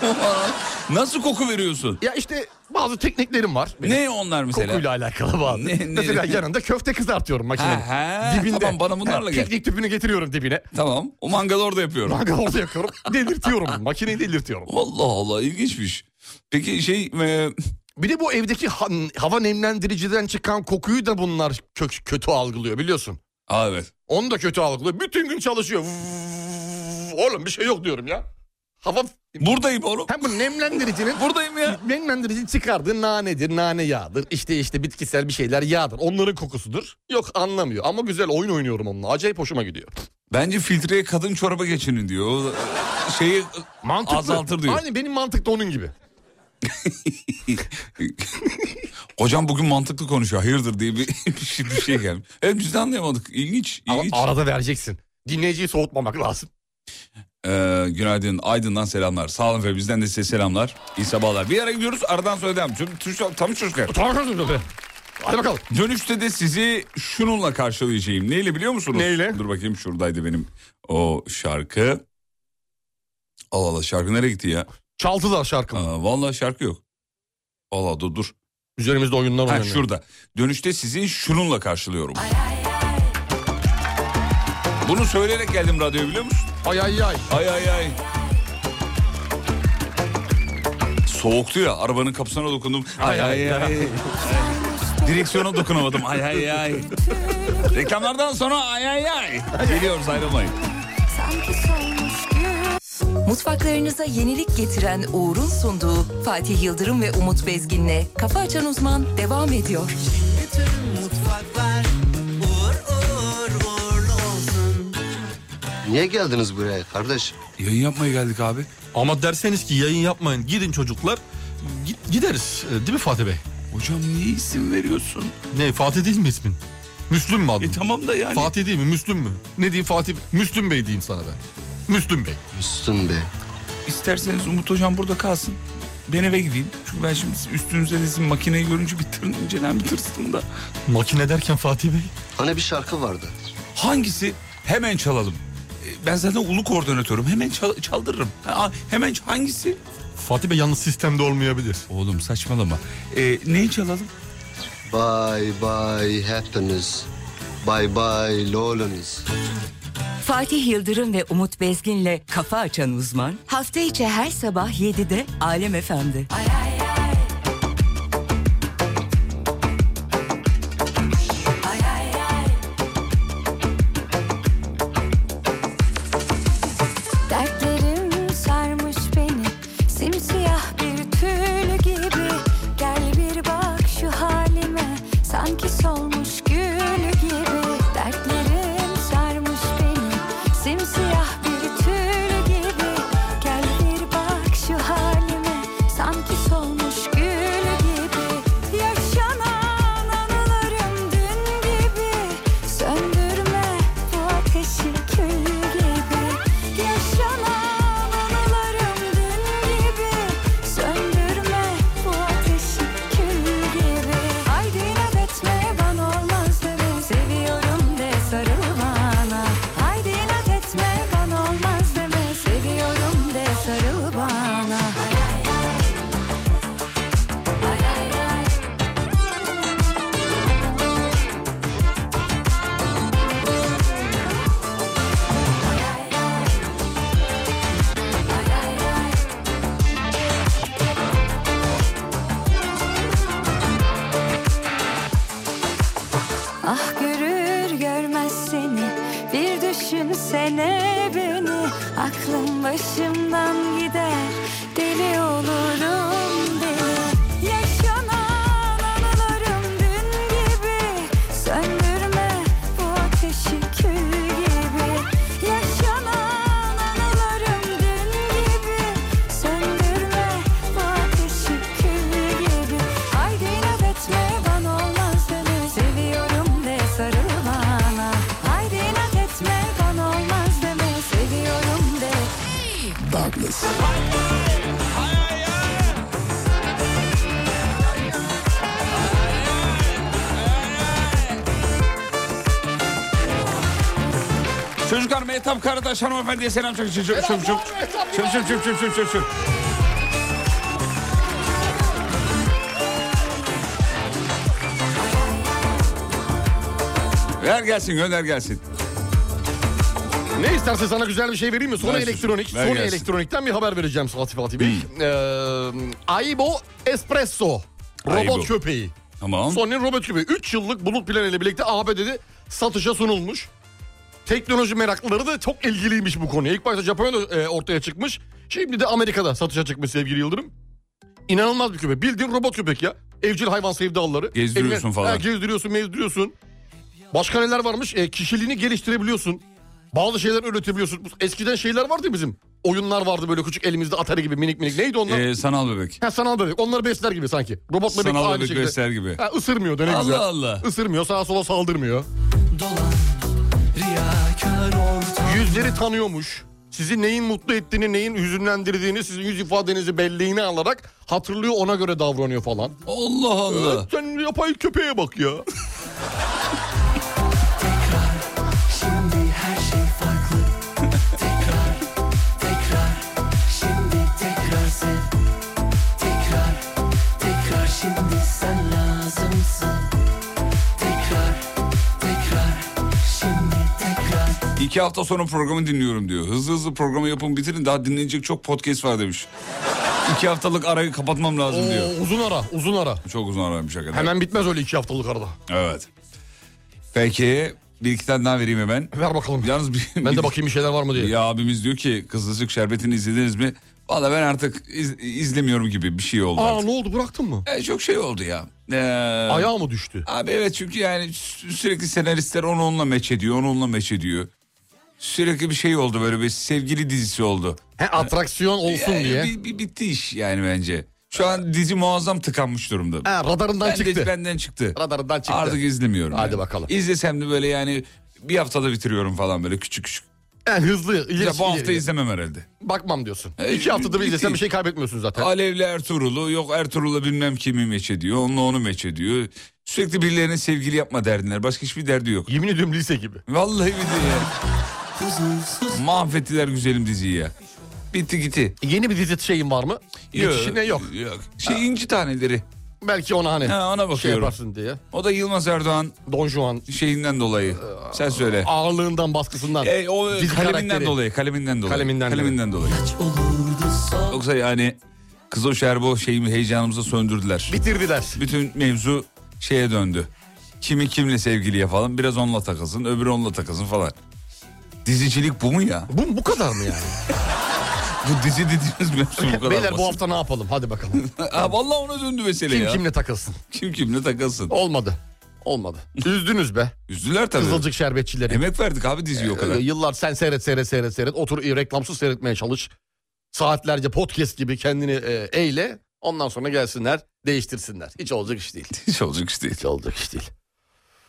S4: (laughs) nasıl koku veriyorsun?
S5: ya işte bazı tekniklerim var. benim.
S4: Ne onlar mesela?
S5: Kokuyla alakalı bazı.
S4: Ne- ne-
S5: Mesela yanında köfte kızartıyorum makinenin.
S4: Ha, ha,
S5: dibinde.
S4: tamam, bana bunlarla gel.
S5: Teknik tüpünü getiriyorum dibine.
S4: Tamam. O mangalı orada yapıyorum.
S5: Mangal orada yakıyorum. (laughs) delirtiyorum. Makineyi delirtiyorum.
S4: Allah Allah ilginçmiş. Peki şey e,
S5: Ee, Bir de bu evdeki ha- hava nemlendiriciden çıkan kokuyu da bunlar kök- kötü algılıyor biliyorsun.
S4: Aa, evet.
S5: Onu da kötü algılıyor. Bütün gün çalışıyor. Vuv, Oğlum bir şey yok diyorum ya. Hava...
S4: Buradayım oğlum.
S5: Hem bu
S4: (laughs)
S5: nemlendiricinin...
S4: Buradayım ya.
S5: Nemlendirici çıkardığı nanedir, nane yağdır. İşte işte bitkisel bir şeyler yağdır. Onların kokusudur. Yok anlamıyor ama güzel oyun oynuyorum onunla. Acayip hoşuma gidiyor.
S4: Bence filtreye kadın çoraba geçinin diyor. O, e, Şeyi
S5: Mantıklı.
S4: Azaltır diyor.
S5: Aynı benim mantık da onun gibi.
S4: hocam bugün mantıklı konuşuyor hayırdır diye bir, (laughs) bir şey- bir şey gelmiş. Evet biz de anlayamadık. İlginç.
S5: Ama
S4: ilginç.
S5: arada vereceksin. Dinleyiciyi soğutmamak lazım.
S4: Ee, günaydın. Aydın'dan selamlar. Sağ olun ve bizden de size selamlar. İyi sabahlar. Bir ara gidiyoruz. Aradan sonra devam. Tüm, tüm- tam çocuklar.
S5: Hadi bakalım.
S4: Dönüşte de sizi şununla karşılayacağım. Neyle biliyor musunuz?
S5: Neyle?
S4: Dur bakayım şuradaydı benim o şarkı. Allah Allah şarkı nereye gitti ya?
S5: Çaldılar şarkımı.
S4: Aa, vallahi şarkı yok. Allah dur dur.
S5: Üzerimizde oyunlar
S4: Ha
S5: oynanıyor.
S4: şurada. Dönüşte sizi şununla karşılıyorum. Bunu söyleyerek geldim radyoya biliyor musun?
S5: Ay ay ay.
S4: Ay ay ay. Soğuktu ya arabanın kapısına dokundum. Ay ay ay. Direksiyona dokunamadım. Ay ay ay. Reklamlardan sonra ay ay ay. Geliyoruz ayrılmayın.
S1: Mutfaklarınıza yenilik getiren Uğur'un sunduğu Fatih Yıldırım ve Umut Bezgin'le Kafa Açan Uzman devam ediyor.
S8: Niye geldiniz buraya kardeş?
S4: Yayın yapmaya geldik abi.
S9: Ama derseniz ki yayın yapmayın gidin çocuklar Git- gideriz E, değil mi Fatih Bey?
S4: Hocam niye isim veriyorsun?
S9: Ne Fatih değil mi ismin? Müslüm mü adın?
S4: E tamam da yani.
S9: Fatih değil mi Müslüm mü? Ne diyeyim Fatih? Müslüm Bey diyeyim sana ben. Müslüm Bey.
S8: Üstün Bey.
S4: İsterseniz Umut hocam burada kalsın. Ben eve gideyim. Çünkü ben şimdi üstünüze de sizin makineyi görünce bitirin. İncelen bitirsin da.
S9: Makine derken Fatih Bey?
S8: Hani bir şarkı vardı.
S4: Hangisi? Hemen çalalım. E, Ben zaten ulu koordinatörüm. Hemen çal- çaldırırım. Ha, hemen ç- hangisi?
S9: Fatih Bey yalnız sistemde olmayabilir.
S4: Oğlum saçmalama. E, neyi çalalım?
S8: Bye bye happiness. Bye bye loneliness.
S7: Fatih Yıldırım ve Umut Bezgin'le Kafa Açan Uzman hafta içi her sabah 7'de Alem Efendi.
S10: Dertlerim sarmış beni Simsiyah bir tül gibi Gel bir bak şu halime Sanki solmuş gül gibi Dertlerim sarmış beni Simsiyah bir tül gibi Gel bir bak şu halime Sanki solmuş gül gibi Yaşanan anılarım dün gibi Söndürme bu ateşi kül gibi Yaşanan anılarım dün gibi Söndürme bu ateşi kül gibi Haydi inat etme bana olmaz de ben Seviyorum de sarıl bana Haydi inat etme bana olmaz deme Seviyorum de sarıl bana Ah görür görmez seni Bir düşünsene beni Aklım başımdan gider Deli olurum deli Yaşanan anılarım dün gibi Söndürme bu ateşi kül gibi Yaşanan anılarım dün gibi Söndürme bu ateşi kül gibi Haydi inat etme bana olmaz deme Seviyorum de sarıl bana Haydi inat etme bana olmaz deme Seviyorum de
S4: Çocuklar Mehtap Karataş hanımefendiye selam çak çak çak çak çak çak çak çak çak çak çak çak. Ver gelsin gönder gelsin.
S5: Ne istersen sana güzel bir şey vereyim mi? Sony
S4: Ver
S5: elektronik.
S4: sus, ver
S5: Sony
S4: gelsin.
S5: elektronikten bir haber vereceğim Fatih Fatih Bey. Ee, Aibo Espresso. Robot
S4: Aibo.
S5: köpeği.
S4: Tamam.
S5: Sony robot köpeği. 3 yıllık bulut planı ile birlikte ABD'de satışa sunulmuş. Teknoloji meraklıları da çok ilgiliymiş bu konuya. İlk başta Japonya'da e, ortaya çıkmış. Şimdi de Amerika'da satışa çıkmış sevgili Yıldırım. İnanılmaz bir köpek. Bildiğin robot köpek ya. Evcil hayvan sevdalıları.
S4: Gezdiriyorsun
S5: Evine-
S4: falan.
S5: Ha, gezdiriyorsun, mezdiriyorsun. Başka neler varmış? E, kişiliğini geliştirebiliyorsun. Bazı şeyler üretebiliyorsun. Eskiden şeyler vardı ya bizim. Oyunlar vardı böyle küçük elimizde Atari gibi minik minik. Neydi onlar?
S4: Ee, sanal bebek.
S5: Ha, sanal bebek. Onları besler gibi sanki. Robot bebek
S4: Sanal
S5: aynı
S4: bebek
S5: şekilde.
S4: besler gibi.
S5: Ha, ısırmıyor da ne
S4: Allah
S5: güzel.
S4: Allah.
S5: Isırmıyor sağa sola saldırmıyor.
S6: Dolan, riyakar ortam
S5: Yüzleri tanıyormuş. Sizi neyin mutlu ettiğini, neyin hüzünlendirdiğini, sizin yüz ifadenizi, belleğini alarak hatırlıyor ona göre davranıyor falan.
S4: Allah Allah.
S5: Sen yapay köpeğe bak ya.
S6: tekrar Şimdi her şey farklı Tekrar, tekrar Şimdi tekrar sen Tekrar, tekrar Şimdi sen lazımsın Tekrar, tekrar Şimdi tekrar
S4: İki hafta sonra programı dinliyorum diyor. Hızlı hızlı programı yapın bitirin daha dinlenecek çok podcast var demiş. İki haftalık arayı kapatmam lazım diyor.
S5: Oo, uzun ara, uzun ara.
S4: Çok uzun araymış hakikaten.
S5: Hemen bitmez öyle iki haftalık arada.
S4: Evet. Peki bir iki tane daha vereyim hemen.
S5: Ver bakalım.
S4: Yalnız bir,
S5: Ben de bakayım bir şeyler var mı diye.
S4: Ya abimiz diyor ki Kızılcık Şerbeti'ni izlediniz mi? Valla ben artık iz- izlemiyorum gibi bir şey oldu
S5: Aa
S4: artık.
S5: ne oldu bıraktın mı?
S4: E, çok şey oldu ya. Ee,
S5: Ayağı mı düştü?
S4: Abi evet çünkü yani sü- sürekli senaristler onu onunla meç ediyor, onu onunla meç ediyor. Sürekli bir şey oldu böyle bir sevgili dizisi oldu. Ee,
S5: He atraksiyon olsun
S4: Yani
S5: diye.
S4: bir- bir- bitti iş yani bence. Şu an dizi muazzam tıkanmış durumda.
S5: He radarından
S4: Ben de-
S5: çıktı.
S4: benden çıktı.
S5: Radarından çıktı.
S4: Artık izlemiyorum.
S5: Hadi
S4: yani.
S5: bakalım.
S4: İzlesem de böyle yani bir haftada bitiriyorum falan böyle küçük küçük.
S5: Yani hızlı. ileri-
S4: Ya bu hafta
S5: ileri-
S4: izlemem herhalde.
S5: Bakmam diyorsun.
S4: E,
S5: iki haftada bir
S4: bitti.
S5: izlesen bir şey kaybetmiyorsun zaten.
S4: Alevli Ertuğrul'u yok Ertuğrul'la bilmem kimi meç ediyor. Onunla onu meç ediyor. Sürekli birilerine sevgili yapma derdinler. Başka hiçbir derdi yok.
S5: Yemin ediyorum lise gibi.
S4: Vallahi billahi ya. Mahvettiler güzelim diziyi ya. Bitti gitti.
S5: Yeni bir dizi şeyin var mı? Yetişine yok.
S4: Yok. Şey inci taneleri.
S5: Belki ona hani
S4: Ha, ona
S5: şey
S4: bakıyorum.
S5: yaparsın diye.
S4: o da Yılmaz Erdoğan
S5: Don Juan Ee,
S4: şeyinden dolayı. Sen söyle.
S5: ağırlığından baskısından.
S4: E, o
S5: Dizi
S4: kaleminden
S5: karakteri.
S4: dolayı, kaleminden dolayı.
S5: Kaleminden
S4: dolayı. Yoksa yani Kızıl Şerbo şeyimi heyecanımızı söndürdüler.
S5: Bitirdiler.
S4: Bütün mevzu şeye döndü. Kimi kimle sevgiliye falan biraz onunla takılsın, öbürü onunla takılsın falan. Dizicilik bu mu ya?
S5: Bu, bu kadar mı yani?
S4: (laughs) Bu dizi dediğimiz mevzu bu kadar
S5: Beyler bu
S4: basit.
S5: hafta ne yapalım hadi bakalım.
S4: (laughs) Ha, vallahi ona döndü mesele
S5: Kim
S4: ya.
S5: kimle takılsın.
S4: Kim kimle takılsın.
S5: Olmadı. Olmadı. Üzdünüz be.
S4: Üzdüler tabii.
S5: Kızılcık şerbetçileri.
S4: Emek verdik abi diziye o kadar.
S5: Ee, Yıllar sen seyret seyret seyret seyret. Otur e, reklamsız seyretmeye çalış. Saatlerce podcast gibi kendini e, eyle. Ondan sonra gelsinler değiştirsinler. Hiç olacak iş değil.
S4: (laughs) Hiç olacak iş değil.
S5: Hiç olacak iş değil.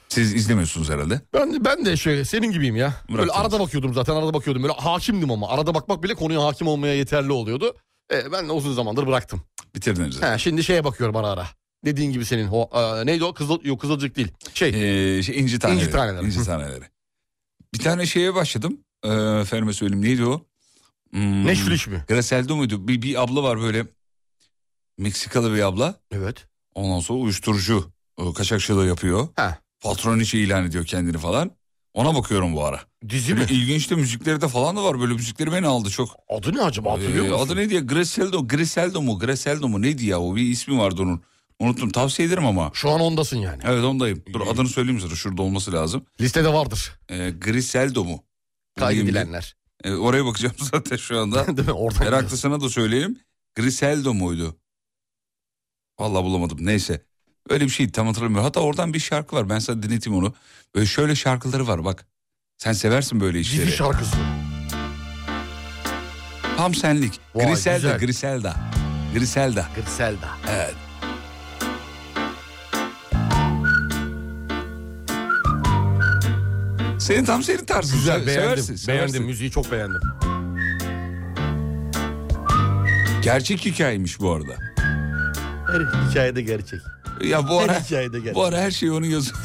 S4: Siz izlemiyorsunuz herhalde.
S5: Ben, ben de şöyle senin gibiyim ya. Böyle
S4: Murat'cığım.
S5: arada bakıyordum zaten arada bakıyordum. Böyle hakimdim ama arada bakmak bile konuya hakim olmaya yeterli oluyordu. E, ben de uzun zamandır bıraktım.
S4: Bitirdiniz.
S5: He, şimdi şeye bakıyorum ara ara. Dediğin gibi senin o, e, neydi o Kızıl, yok, kızılcık değil. Şey
S4: Ee, şey, inci taneleri.
S5: İnci taneleri.
S4: İnci taneleri. Bir tane şeye başladım. Ee, efendime söyleyeyim neydi o? Hmm,
S5: Neşviliş mi?
S4: Graseldo muydu? Bir, bir abla var böyle. Meksikalı bir abla.
S5: Evet.
S4: Ondan sonra uyuşturucu e, kaçakçılığı yapıyor.
S5: Ha.
S4: Patron içi ilan ediyor kendini falan. Ona bakıyorum bu ara.
S5: Dizi
S4: Böyle
S5: mi?
S4: ilginç de müzikleri de falan da var. Böyle müzikleri beni aldı çok.
S5: Adı ne acaba hatırlıyor
S4: Ee,
S5: musun?
S4: adı neydi ya? Graseldo, Graseldo mu? Graseldo mu? Neydi ya o? Bir ismi vardı onun. Unuttum. Tavsiye ederim ama.
S5: Şu an ondasın yani.
S4: Evet ondayım. Dur adını söyleyeyim sana. Şurada olması lazım.
S5: Listede vardır.
S4: Ee, Griseldo mu?
S5: Kaydedilenler.
S4: Ee, oraya bakacağım (laughs) zaten şu anda.
S5: (laughs) Değil mi? Oradan.
S4: Meraklısına da söyleyeyim. Griseldo muydu? Vallahi bulamadım. Neyse. Öyle bir şey tam hatırlamıyorum. Hatta oradan bir şarkı var. Ben sana dinleteyim onu. Böyle şöyle şarkıları var bak. Sen seversin böyle işleri.
S5: Dizi şarkısı.
S4: Tam senlik.
S5: Vay,
S4: Griselda,
S5: güzel.
S4: Griselda. Griselda.
S5: Griselda.
S4: Evet. Senin tam senin tarzın.
S5: Güzel
S4: Se-
S5: beğendim.
S4: seversin,
S5: beğendim
S4: seversin.
S5: müziği çok beğendim.
S4: Gerçek hikayeymiş bu arada.
S5: Her hikayede gerçek.
S4: Ya bu ara,
S5: hikayede gerçek.
S4: bu ara her şey onun yazıyor.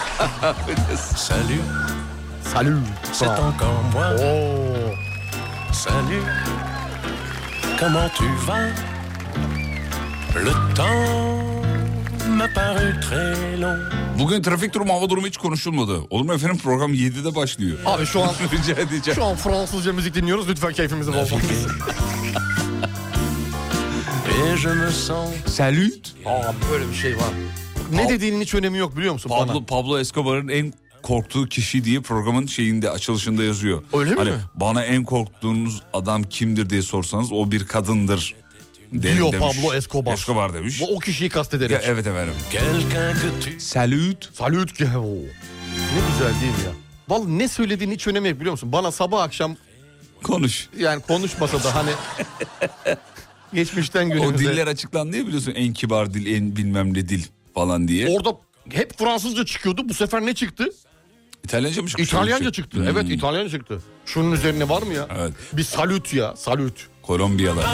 S11: (laughs) Salut,
S5: Salü.
S11: c'est encore moi.
S5: Oo.
S11: Salut, comment tu vas Le temps m'a paru très long.
S4: Bugün trafik durumu hava durumu hiç konuşulmadı. Olur mu efendim program 7'de başlıyor.
S5: Abi şu an
S4: (laughs) Rica edeceğim.
S5: (laughs) şu an Fransızca müzik dinliyoruz. Lütfen keyfimizi (laughs) bozmayın.
S11: Et je me sens
S4: Salüt.
S5: Abi böyle bir şey var. Ne dediğinin hiç önemi yok biliyor musun
S4: Pablo, Pablo Escobar'ın en korktuğu kişi diye programın şeyinde açılışında yazıyor.
S5: Öyle mi?
S4: Hani bana en korktuğunuz adam kimdir diye sorsanız o bir kadındır. derim
S5: Diyor
S4: demiş.
S5: Pablo Escobar.
S4: Escobar demiş.
S5: bana? Bu o kişiyi kastederek.
S4: Ya, evet efendim.
S11: quelqu'un que tu
S4: Salüt.
S5: Salut ki- Oo. Ne güzel değil mi ya? Vallahi ne söylediğinin hiç önemi yok biliyor musun? Bana sabah akşam
S4: Konuş.
S5: yani konuşmasa
S4: (laughs)
S5: da hani geçmişten
S4: O
S5: günümüze.
S4: diller açıklandı ya biliyorsun en kibar dil en bilmem ne dil falan diye.
S5: Orada hep Fransızca çıkıyordu. Bu sefer ne çıktı?
S4: İtalyanca mı çıkmış?
S5: İtalyanca çıktı.
S4: Hmm.
S5: Evet İtalyanca çıktı. Şunun üzerine var mı ya?
S4: Evet.
S5: Bir salüt ya salüt.
S4: Kolombiyalar.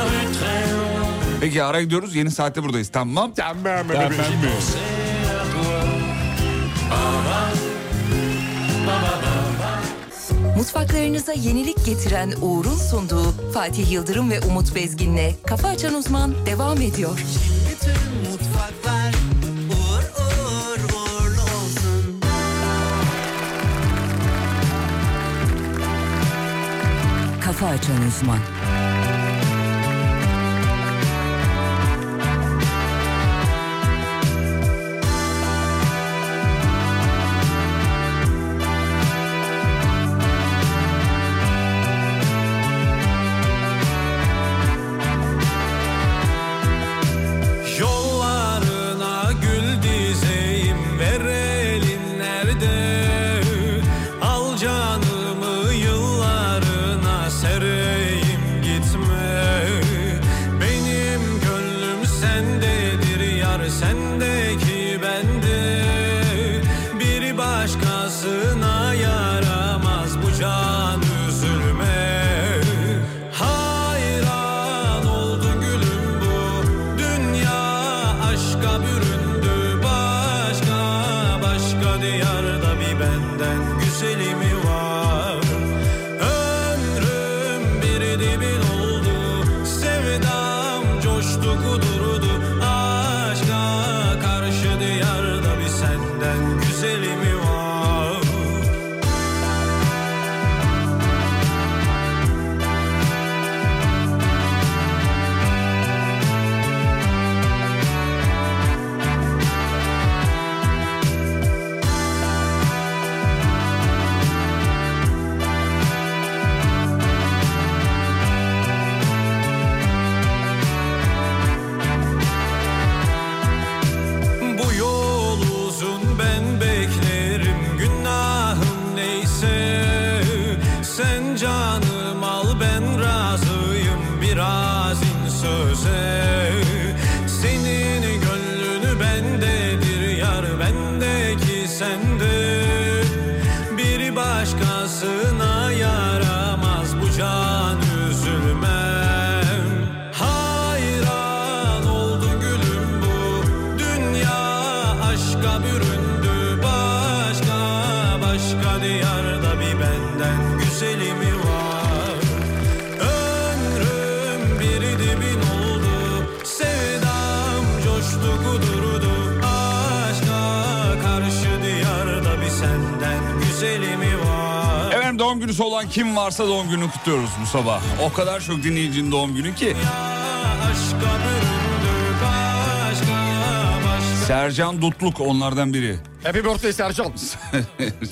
S4: Peki ara gidiyoruz. Yeni saatte buradayız. Tamam.
S5: Tamam.
S1: Mutfaklarınıza yenilik getiren Uğur'un sunduğu Fatih Yıldırım ve Umut Bezgin'le Kafa Açan Uzman devam ediyor.
S2: Kafa Açan Uzman.
S11: Yollarına gül dizeyim ver elin nerede Al canımı yıllarına sereyim gitme Benim gönlüm sendedir yar sendeki bende Bir başkasına yaramaz bu can üzülme Hayran oldu gülüm bu dünya aşka büründü başka başka diyarda bir benden güzeli mi var ömrüm bir dibin oldu sevdam coştu kudurdu aşka
S12: Başkasına yaramaz bu can üzülmem Hayran oldu gülüm bu Dünya aşka büründü Başka başka diyarda bir benden güzeli mi var Ömrüm bir dibin oldu Sevdam coştu kudurdu Aşka karşı diyarda bir senden güzeli mi var
S4: Efendim doğum günüsü olan kim varsa doğum gününü kutluyoruz bu sabah. O kadar çok dinleyicinin doğum günü ki.
S12: Aşka büründü başka başka
S4: Sercan Dutluk onlardan biri.
S5: Happy
S4: (laughs)
S5: birthday Sercan.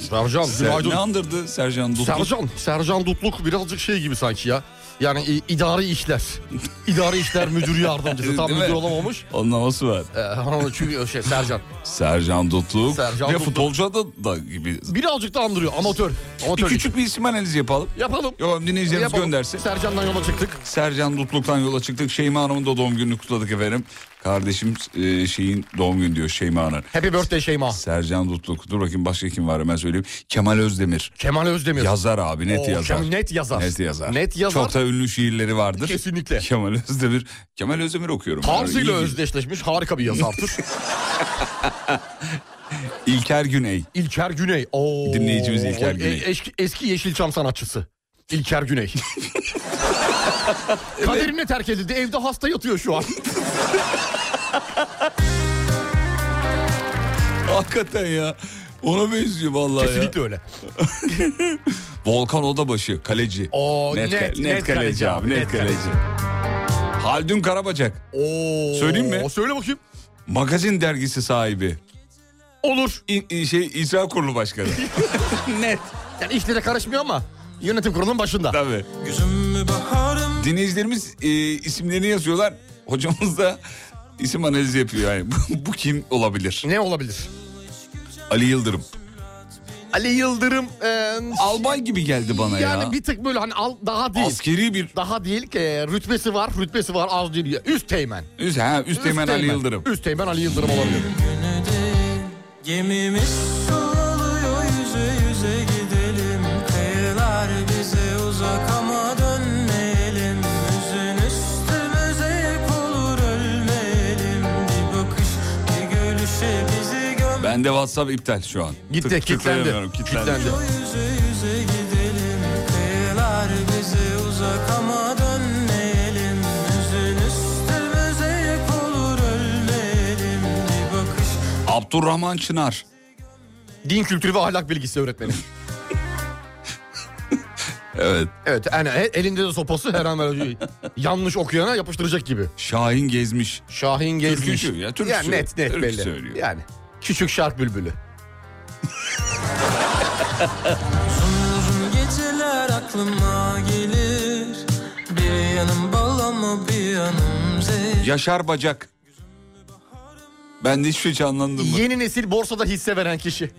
S5: Sercan
S4: Ser, ne
S5: günaydın.
S4: andırdı Sercan Dutluk?
S5: Sercan, Sercan Dutluk birazcık şey gibi sanki ya. Yani i- idari işler. İdari işler müdür yardımcısı. Tam
S4: Değil mi?
S5: müdür olamamış.
S4: Onun havası var.
S5: Ee, ama çünkü şey Sercan.
S4: Sercan Dutluk.
S5: Sercan
S4: Ve
S5: Dutluk.
S4: futbolcu adı da gibi.
S5: Birazcık da andırıyor. Amatör.
S4: Bir
S5: Amatör.
S4: küçük bir isim analizi yapalım.
S5: Yapalım.
S4: Yok dinleyicilerimiz
S5: Yapalım.
S4: göndersin.
S5: Sercan'dan yola çıktık.
S4: Sercan Dutluk'tan yola çıktık. Şeyma Hanım'ın da doğum gününü kutladık efendim. Kardeşim e, şeyin doğum günü diyor Şeyma Hanım.
S5: Happy birthday Şeyma.
S4: Sercan Dutluk. Dur bakayım başka kim var hemen söyleyeyim. Kemal Özdemir.
S5: Kemal Özdemir.
S4: Yazar abi net
S5: Oo,
S4: yazar.
S5: Kemal net yazar.
S4: Net yazar.
S5: Net yazar.
S4: Çok da ünlü şiirleri vardır.
S5: Kesinlikle.
S4: Kemal Özdemir. Kemal Özdemir okuyorum.
S5: Tarzıyla
S4: Yani iyi-
S5: özdeşleşmiş harika bir yazardır.
S4: İlker Güney.
S5: İlker Güney. Oo.
S4: Dinleyicimiz İlker Güney.
S5: E- eski, eski Yeşilçam sanatçısı. İlker Güney. Kaderine terk edildi. Evde hasta yatıyor şu an.
S4: Hakikaten ya. Ona benziyor vallahi
S5: Kesinlikle öyle.
S4: ya. (laughs) Volkan Odabaşı kaleci.
S5: Oo, net,
S4: ka-
S5: net, kaleci abi.
S4: Net, kaleci. Haldun Karabacak.
S5: Oo.
S4: Söyleyeyim mi?
S5: Söyle bakayım.
S4: Magazin dergisi sahibi.
S5: Olur.
S4: İ- i- şey İcra Kurulu
S5: (laughs)
S4: Başkanı. net.
S5: Yani işlere karışmıyor ama yönetim kurulunun başında.
S4: Tabii.
S12: Gözüm mü baharım
S4: Dinleyicilerimiz e, isimlerini yazıyorlar. Hocamız da isim analizi yapıyor yani. Bu- Bu kim olabilir?
S5: Ne olabilir?
S4: Ali Yıldırım.
S5: (laughs) Ali Yıldırım e,
S4: Albay gibi geldi bana
S5: yani
S4: ya.
S5: bir tık böyle hani al, daha değil.
S4: Askeri bir
S5: Daha değil ki e, rütbesi var, rütbesi var az değil. Üst teğmen.
S4: üst, ha, üst teğmen Ali Yıldırım.
S5: Üst teğmen Ali Yıldırım olabilir.
S12: Gemimiz sallanıyor yüze yüze gidelim Kayalar bize uzak ama dönmeyelim Üzün üstümüze yek olur ölmeyelim Bir bakış bir gülüşe bizi göm
S4: Bende WhatsApp iptal şu an.
S5: Gitti,
S4: Tık-
S5: kilitlendi.
S4: tıklayamıyorum, Kilitlendi.
S12: Yüze yüze gidelim Kayalar bize uzak ama dönmeyelim Üzün üstümüze yek olur ölmeyelim Bir bakış
S4: Abdurrahman Çınar.
S5: Din kültürü ve ahlak bilgisi (laughs) öğretmeni.
S4: Evet.
S5: evet yani e- elinde de sopası her an böyle yanlış okuyana yapıştıracak gibi.
S4: Şahin Gezmiş.
S5: Şahin gezmiş.
S4: Türkücü ya, türkü
S5: yani
S4: söylüyor.
S5: net net
S4: Türkü
S5: belli.
S4: söylüyor.
S5: Yani küçük şark bülbülü.
S12: Uzun geceler aklıma gelir Bir yanım bal ama bir yanım zehir
S4: Yaşar Bacak. Ben de hiçbir şey canlandım mı?
S5: Yeni nesil borsada hisse veren kişi.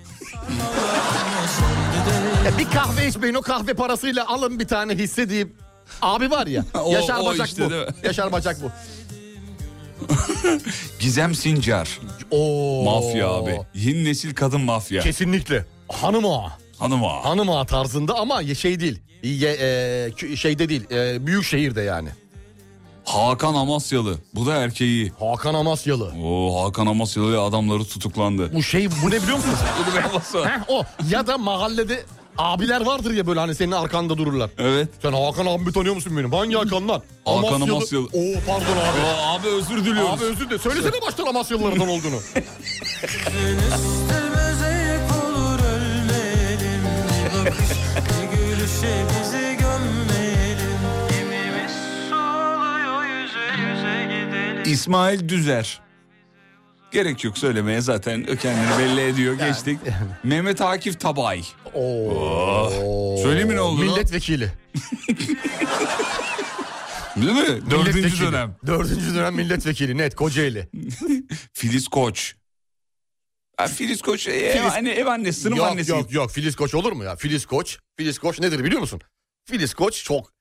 S5: Ya bir kahve içmeyin o kahve parasıyla alın bir tane hisse deyip abi var ya.
S4: (laughs) O-
S5: Yaşar
S4: o
S5: Bacak
S4: işte,
S5: bu.
S4: değil mi?
S5: Yaşar Bacak
S4: (laughs)
S5: bu.
S4: Gizem Sincar.
S5: Oo.
S4: Mafya abi. Yeni nesil kadın mafya.
S5: Kesinlikle. Hanım ağa.
S4: Hanım ağa.
S5: Hanım ağa tarzında ama ye- şey değil. Ye, e, kü- şeyde değil. E, büyük şehirde yani.
S4: Hakan Amasyalı. Bu da erkeği.
S5: Hakan Amasyalı.
S4: Oo Hakan Amasyalı adamları tutuklandı.
S5: Bu şey bu ne biliyor (laughs) musunuz?
S4: Dur be basa.
S5: Heh, o. Ya da mahallede abiler vardır ya böyle hani senin arkanda dururlar.
S4: Evet.
S5: Sen Hakan abimi tanıyor musun benim? Hangi Hakan lan?
S4: Hakan
S5: Amasyalı.
S4: Amasyalı.
S5: Oo pardon abi.
S4: Aa, abi özür diliyoruz.
S5: Abi özür dilerim. Söylesene baştan Amasyalılardan olduğunu.
S12: Üstümüze yek olur ölmeyelim Bir bakış bir gülüşe bizi gömmeyelim Gemimiz soluyor yüze yüze gidelim
S4: İsmail Düzer. Gerek yok söylemeye zaten o kendini belli ediyor. Geçtik. Mehmet Akif Tabay.
S5: Oo.
S4: Oh. Söyleyeyim mi ne olduğunu?
S5: Milletvekili.
S4: Değil mi? Dördüncü
S5: Milletvekili.
S4: dönem.
S5: Dördüncü dönem milletvekili net Kocaeli.
S4: Filiz Koç. Ha, Filiz Koç e, ev,
S5: Filiz-
S4: anne, ev annesi, sınıf
S5: yok
S4: annesi.
S5: yok yok Filiz Koç olur mu ya? Filiz Koç. Filiz Koç nedir biliyor musun? Filiz Koç çok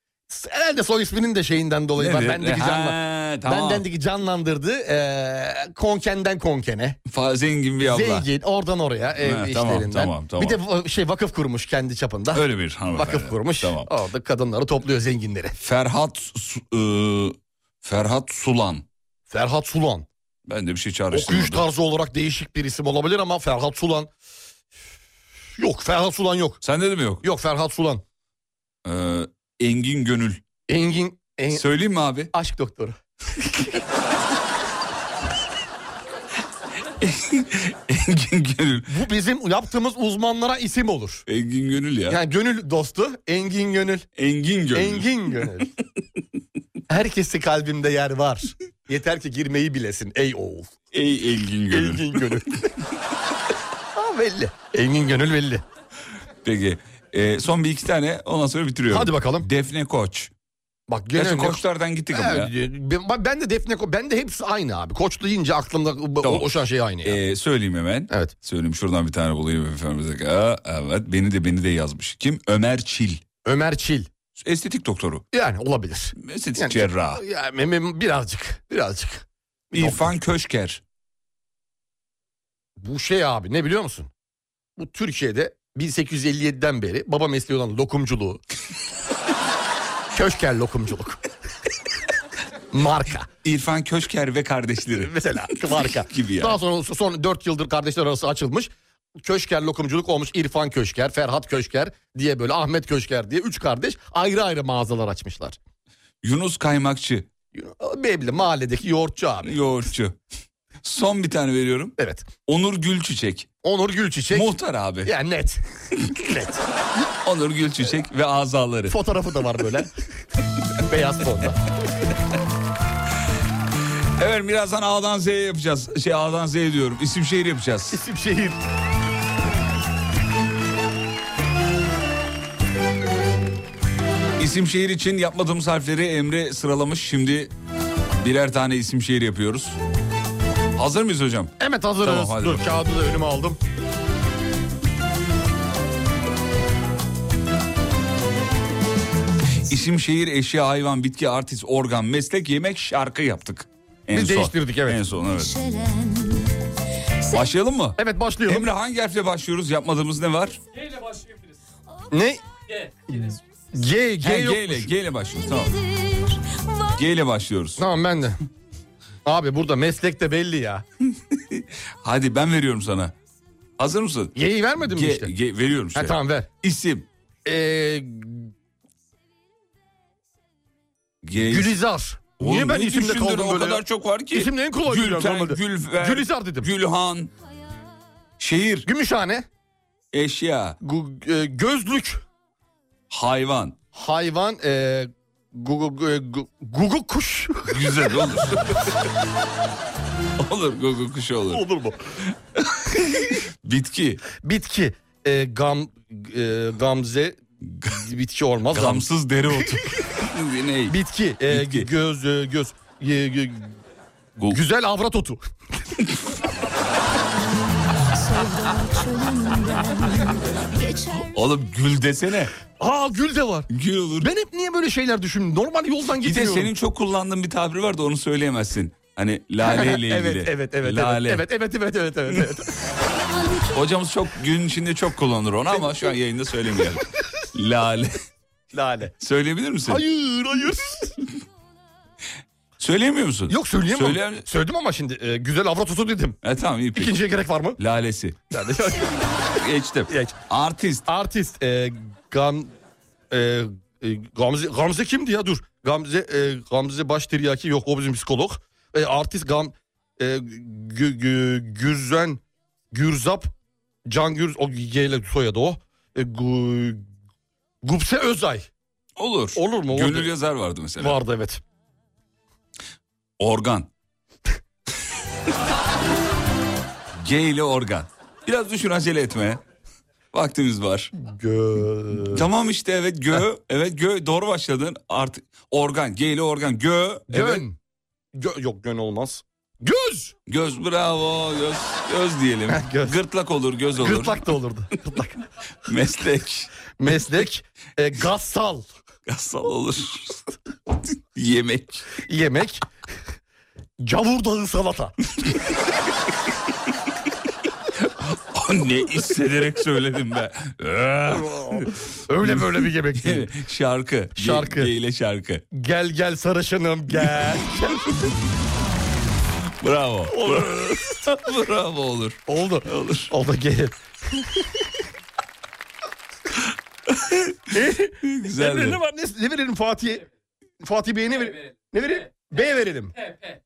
S5: Herhalde soy isminin de şeyinden dolayı. Ben,
S4: Nedir?
S5: bendeki
S4: Ha,
S5: canlan...
S4: tamam.
S5: Bendendeki canlandırdı. Ee, konkenden konkene.
S4: Fa- Zengin bir abla.
S5: Zengin oradan oraya ev
S4: Ha, tamam,
S5: işlerinden.
S4: tamam, tamam.
S5: Bir de va- şey vakıf kurmuş kendi çapında.
S4: Öyle bir hanımefendi.
S5: Vakıf kurmuş.
S4: Tamam.
S5: Orada kadınları topluyor zenginleri.
S4: Ferhat Su- e, Ferhat Sulan.
S5: Ferhat Sulan.
S4: Ben de bir şey çağrıştırmadım.
S5: Okuyuş tarzı olarak değişik bir isim olabilir ama Ferhat Sulan. Yok Ferhat Sulan yok.
S4: Sende de mi yok?
S5: Yok Ferhat Sulan.
S4: Ee, Engin Gönül.
S5: Engin en-
S4: Söyleyeyim mi abi?
S5: aşk doktoru.
S4: (laughs) Engin Gönül.
S5: Bu bizim yaptığımız uzmanlara isim olur.
S4: Engin Gönül ya.
S5: Yani gönül dostu Engin Gönül.
S4: Engin Gönül.
S5: Engin Gönül.
S4: (laughs)
S5: Herkesi kalbimde yer var. Yeter ki girmeyi bilesin ey oğul.
S4: Ey Engin Gönül.
S5: Engin
S4: (laughs)
S5: Gönül. ha belli. Engin Gönül belli.
S4: Peki. Ee, son bir iki tane ondan sonra bitiriyorum.
S5: Hadi bakalım.
S4: Defne Koç.
S5: Bak
S4: Gerçi
S5: gene
S4: koçlardan gittik ama ya.
S5: Evet, ben- ben de Defne Ko- ben de hepsi aynı abi. Koç deyince aklımda o-
S4: Tamam.
S5: oşan şey aynı. ya.
S4: Ee, söyleyeyim hemen.
S5: evet.
S4: Söyleyeyim şuradan bir tane bulayım efendim. Aa, evet beni de beni de yazmış. Kim? Ömer Çil.
S5: Ömer Çil.
S4: Estetik doktoru.
S5: Yani olabilir.
S4: Estetik
S5: Yani,
S4: cerrah.
S5: Yani, mem- mem- birazcık. Birazcık.
S4: İrfan Köşker.
S5: Bu şey abi ne biliyor musun? Bu Türkiye'de 1857'den beri baba mesleği olan
S4: (laughs)
S5: lokumculuğu. köşker lokumculuk. marka.
S4: İrfan Köşker ve kardeşleri.
S5: (laughs) Mesela marka.
S4: Gibi yani.
S5: Daha sonra son 4 yıldır kardeşler arası açılmış. Köşker lokumculuk olmuş İrfan Köşker, Ferhat Köşker diye böyle Ahmet Köşker diye üç kardeş ayrı ayrı mağazalar açmışlar.
S4: Yunus Kaymakçı.
S5: Belli mahalledeki yoğurtçu abi.
S4: Yoğurtçu. Son bir tane veriyorum.
S5: Evet.
S4: Onur Gülçiçek.
S5: Onur Gülçiçek.
S4: Muhtar abi.
S5: yani net. (laughs) net.
S4: Onur Gülçiçek ve azaları.
S5: Fotoğrafı da var
S4: (laughs)
S5: böyle. Beyaz fonda.
S4: Evet birazdan A'dan Z'ye yapacağız. Şey A'dan Z diyorum. İsim şehir yapacağız.
S5: İsim şehir.
S4: İsim şehir için yapmadığımız harfleri Emre sıralamış. Şimdi birer tane isim şehir yapıyoruz. Hazır mıyız hocam?
S5: Evet hazırız.
S4: Tamam, hadi
S5: Dur
S4: bakalım.
S5: kağıdı da önüme aldım.
S4: İsim şehir, eşya, hayvan, bitki, artist, organ, meslek, yemek, şarkı yaptık. En
S5: Biz değiştirdik, evet.
S4: En son evet. Başlayalım mı?
S5: Evet başlıyorum.
S4: Emre hangi harfle başlıyoruz? Yapmadığımız ne var?
S5: Ne? G. G,
S4: He,
S5: yokmuş.
S4: G ile G ile başlıyoruz. Tamam. G ile başlıyoruz.
S5: Tamam ben de. Abi burada meslek de belli ya.
S4: (laughs) Hadi ben veriyorum sana. Hazır mısın?
S5: Y'yi vermedin mi
S4: G,
S5: işte?
S4: G- veriyorum size.
S5: Ha, tamam ver.
S4: İsim.
S5: Ee,
S4: G.
S5: Gülizar.
S4: Oğlum
S5: Niye ben
S4: ne
S5: isimde
S4: düşündün?
S5: kaldım böyle?
S4: O kadar çok var ki.
S5: İsimde en kolay
S4: Gülten,
S5: biliyorum normalde.
S4: Gülfer,
S5: Gülizar dedim.
S4: Gülhan. Şehir,
S5: Gümüşhane.
S4: eşya,
S5: Gu- e, gözlük.
S4: hayvan.
S5: Hayvan. E, gu- gu- e, gu- gugu kuş. (laughs)
S4: Güzel olur. olur Google kuşu olur.
S5: Olur mu?
S4: Bitki.
S5: Bitki. E, gam e, gamze. Bitki olmaz.
S4: Gamsız
S5: (laughs)
S4: dereotu. Ney?
S5: Bitki. e,
S4: Bitki.
S5: Göz. e, göz. e, gö-
S4: Gu-
S5: Güzel avrat otu.
S4: Oğlum gül desene.
S5: Aa gül de var.
S4: Gül olur.
S5: Ben hep niye böyle şeyler düşündüm? Normal yoldan
S4: Bir de
S5: gidiyorum.
S4: senin çok kullandığın bir tabir var da onu söyleyemezsin. Hani lale ile ilgili.
S5: (laughs) Evet evet evet.
S4: Lale.
S5: Evet evet evet evet evet. evet.
S4: Hocamız çok gün içinde çok kullanır onu ama şu an yayında
S5: (laughs)
S4: söylemeyelim. lale.
S5: Lale.
S4: Söyleyebilir misin?
S5: Hayır hayır.
S4: Söyleyemiyor musun?
S5: Yok söyleyemem.
S4: Söyle-
S5: Söyledim ama şimdi e, güzel avrat otu dedim.
S4: E tamam iyi peki.
S5: İkinciye gerek var mı?
S4: Lalesi.
S5: Yani- (laughs)
S4: Geçtim.
S5: Geç.
S4: Artist.
S5: Artist e, Gam e, e, Gamze Gamze kimdi ya dur. Gamze e, Gamze baş tiryaki yok o bizim psikolog. E, artist Gam e, gü, Gü- Gürzen Gürzap Can Gürz o G ile soyadı o. E, Gu- Gupse Özay
S4: Olur.
S5: olur mu?
S4: Gönül
S5: Vardı.
S4: yazar vardı mesela.
S5: vardı evet.
S4: Organ.
S5: (laughs)
S4: G ile organ. Biraz düşün acele etme. Vaktimiz var.
S5: Gö
S4: Tamam işte evet gö. evet gö. Doğru başladın. Artık organ. G ile organ. Gö. Evet.
S5: Gön. Gö- yok gön olmaz. Göz.
S4: Göz bravo. Göz, göz diyelim.
S5: (laughs) Heh, göz.
S4: Gırtlak olur göz olur.
S5: (laughs) Gırtlak da olurdu. Gırtlak.
S4: Meslek.
S5: Meslek e, gassal.
S4: Gasal olur. (laughs) Yemek.
S5: Yemek. Cavur dağı salata.
S4: ne hissederek söyledim ben.
S5: (laughs) Öyle böyle bir yemek değil.
S4: (laughs) şarkı.
S5: Şarkı.
S4: Ye- yeyle şarkı.
S5: Gel gel sarışınım gel.
S4: Bravo. (laughs) Bravo olur.
S5: Oldu. Olur. Oldu gelir.
S4: Güzel.
S5: Ne var? Ne, ne verelim Fatih'e? Fatih Bey'e ne verelim? Ne verelim? B verelim.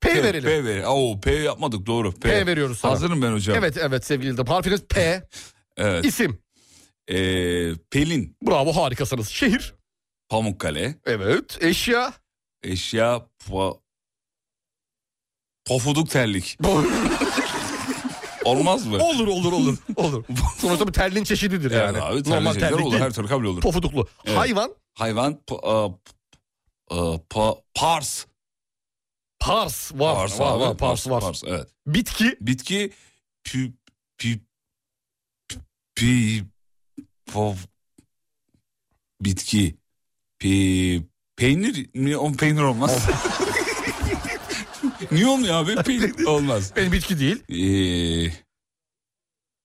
S5: P verelim.
S4: P ver. Oo, P yapmadık doğru. P,
S5: P veriyoruz sana.
S4: Hazırım ben hocam.
S5: Evet evet sevgili dinleyiciler. Harfiniz P.
S4: (laughs) Evet.
S5: İsim.
S4: Ee, Pelin.
S5: Bravo harikasınız. Şehir.
S4: Pamukkale.
S5: Evet. Eşya.
S4: Eşya. Pa... Pofuduk
S5: (laughs)
S4: terlik. Olmaz mı?
S5: Olur olur olur.
S4: (laughs)
S5: olur. Sonuçta bir terliğin çeşididir
S4: Evet
S5: yani.
S4: abi, terli
S5: Normal
S4: şeyler
S5: terlik
S4: olur,
S5: değil.
S4: Her türlü kabul olur.
S5: Pofuduklu.
S4: Evet.
S5: Hayvan.
S4: Hayvan. Pa, a, a, e, pa- pars.
S5: Pars var.
S4: Pars
S5: var,
S4: abi,
S5: var, pars var.
S4: Pars, evet.
S5: Bitki.
S4: Bitki. Pü, pü, pü- pi, po, bitki. Pi, peynir mi? O peynir
S5: (laughs)
S4: olmaz. Niye olmuyor abi? Peynir olmaz.
S5: Benim bitki değil.
S4: Ee,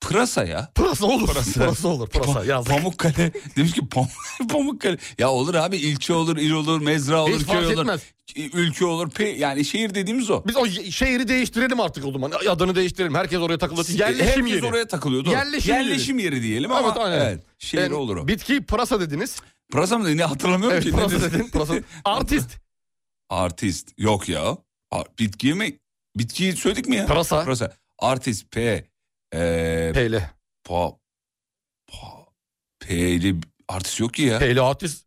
S4: pırasa ya.
S5: Pırasa olur.
S4: Pırasa.
S5: Pırasa, olur. Pırasa
S4: Pa-
S5: yazdık.
S4: Pamukkale. Demiş ki (laughs) Pam- Pamukkale. Ya olur abi ilçe olur, il olur, mezra olur,
S5: Hiç
S4: köy
S5: fark
S4: olur.
S5: etmez.
S4: Ülke olur. Pe- yani şehir dediğimiz o.
S5: Biz o ye- şehri değiştirelim artık o zaman. Adını değiştirelim. Herkes oraya takılır. Yerleşim
S4: Herkes
S5: yeri.
S4: oraya takılıyor. Doğru.
S5: Yerleşim yeri.
S4: yeri diyelim ama
S5: Evet,
S4: evet,
S5: aynen.
S4: şehir
S5: Ben-
S4: olur o.
S5: Bitki pırasa dediniz.
S4: Pırasa mı dedi? Ne hatırlamıyorum
S5: Evet
S4: ki. Ne
S5: pırasa
S4: dedi?
S5: dedin. Pırasa.
S4: (laughs)
S5: Artist.
S4: Artist. Yok ya. A- bitki mi? Bitkiyi söyledik mi ya?
S5: Pırasa.
S4: Pırasa. Artist. P. E,
S5: Peyle.
S4: pa. Pa. P'li artist yok ki ya.
S5: Peyle artist.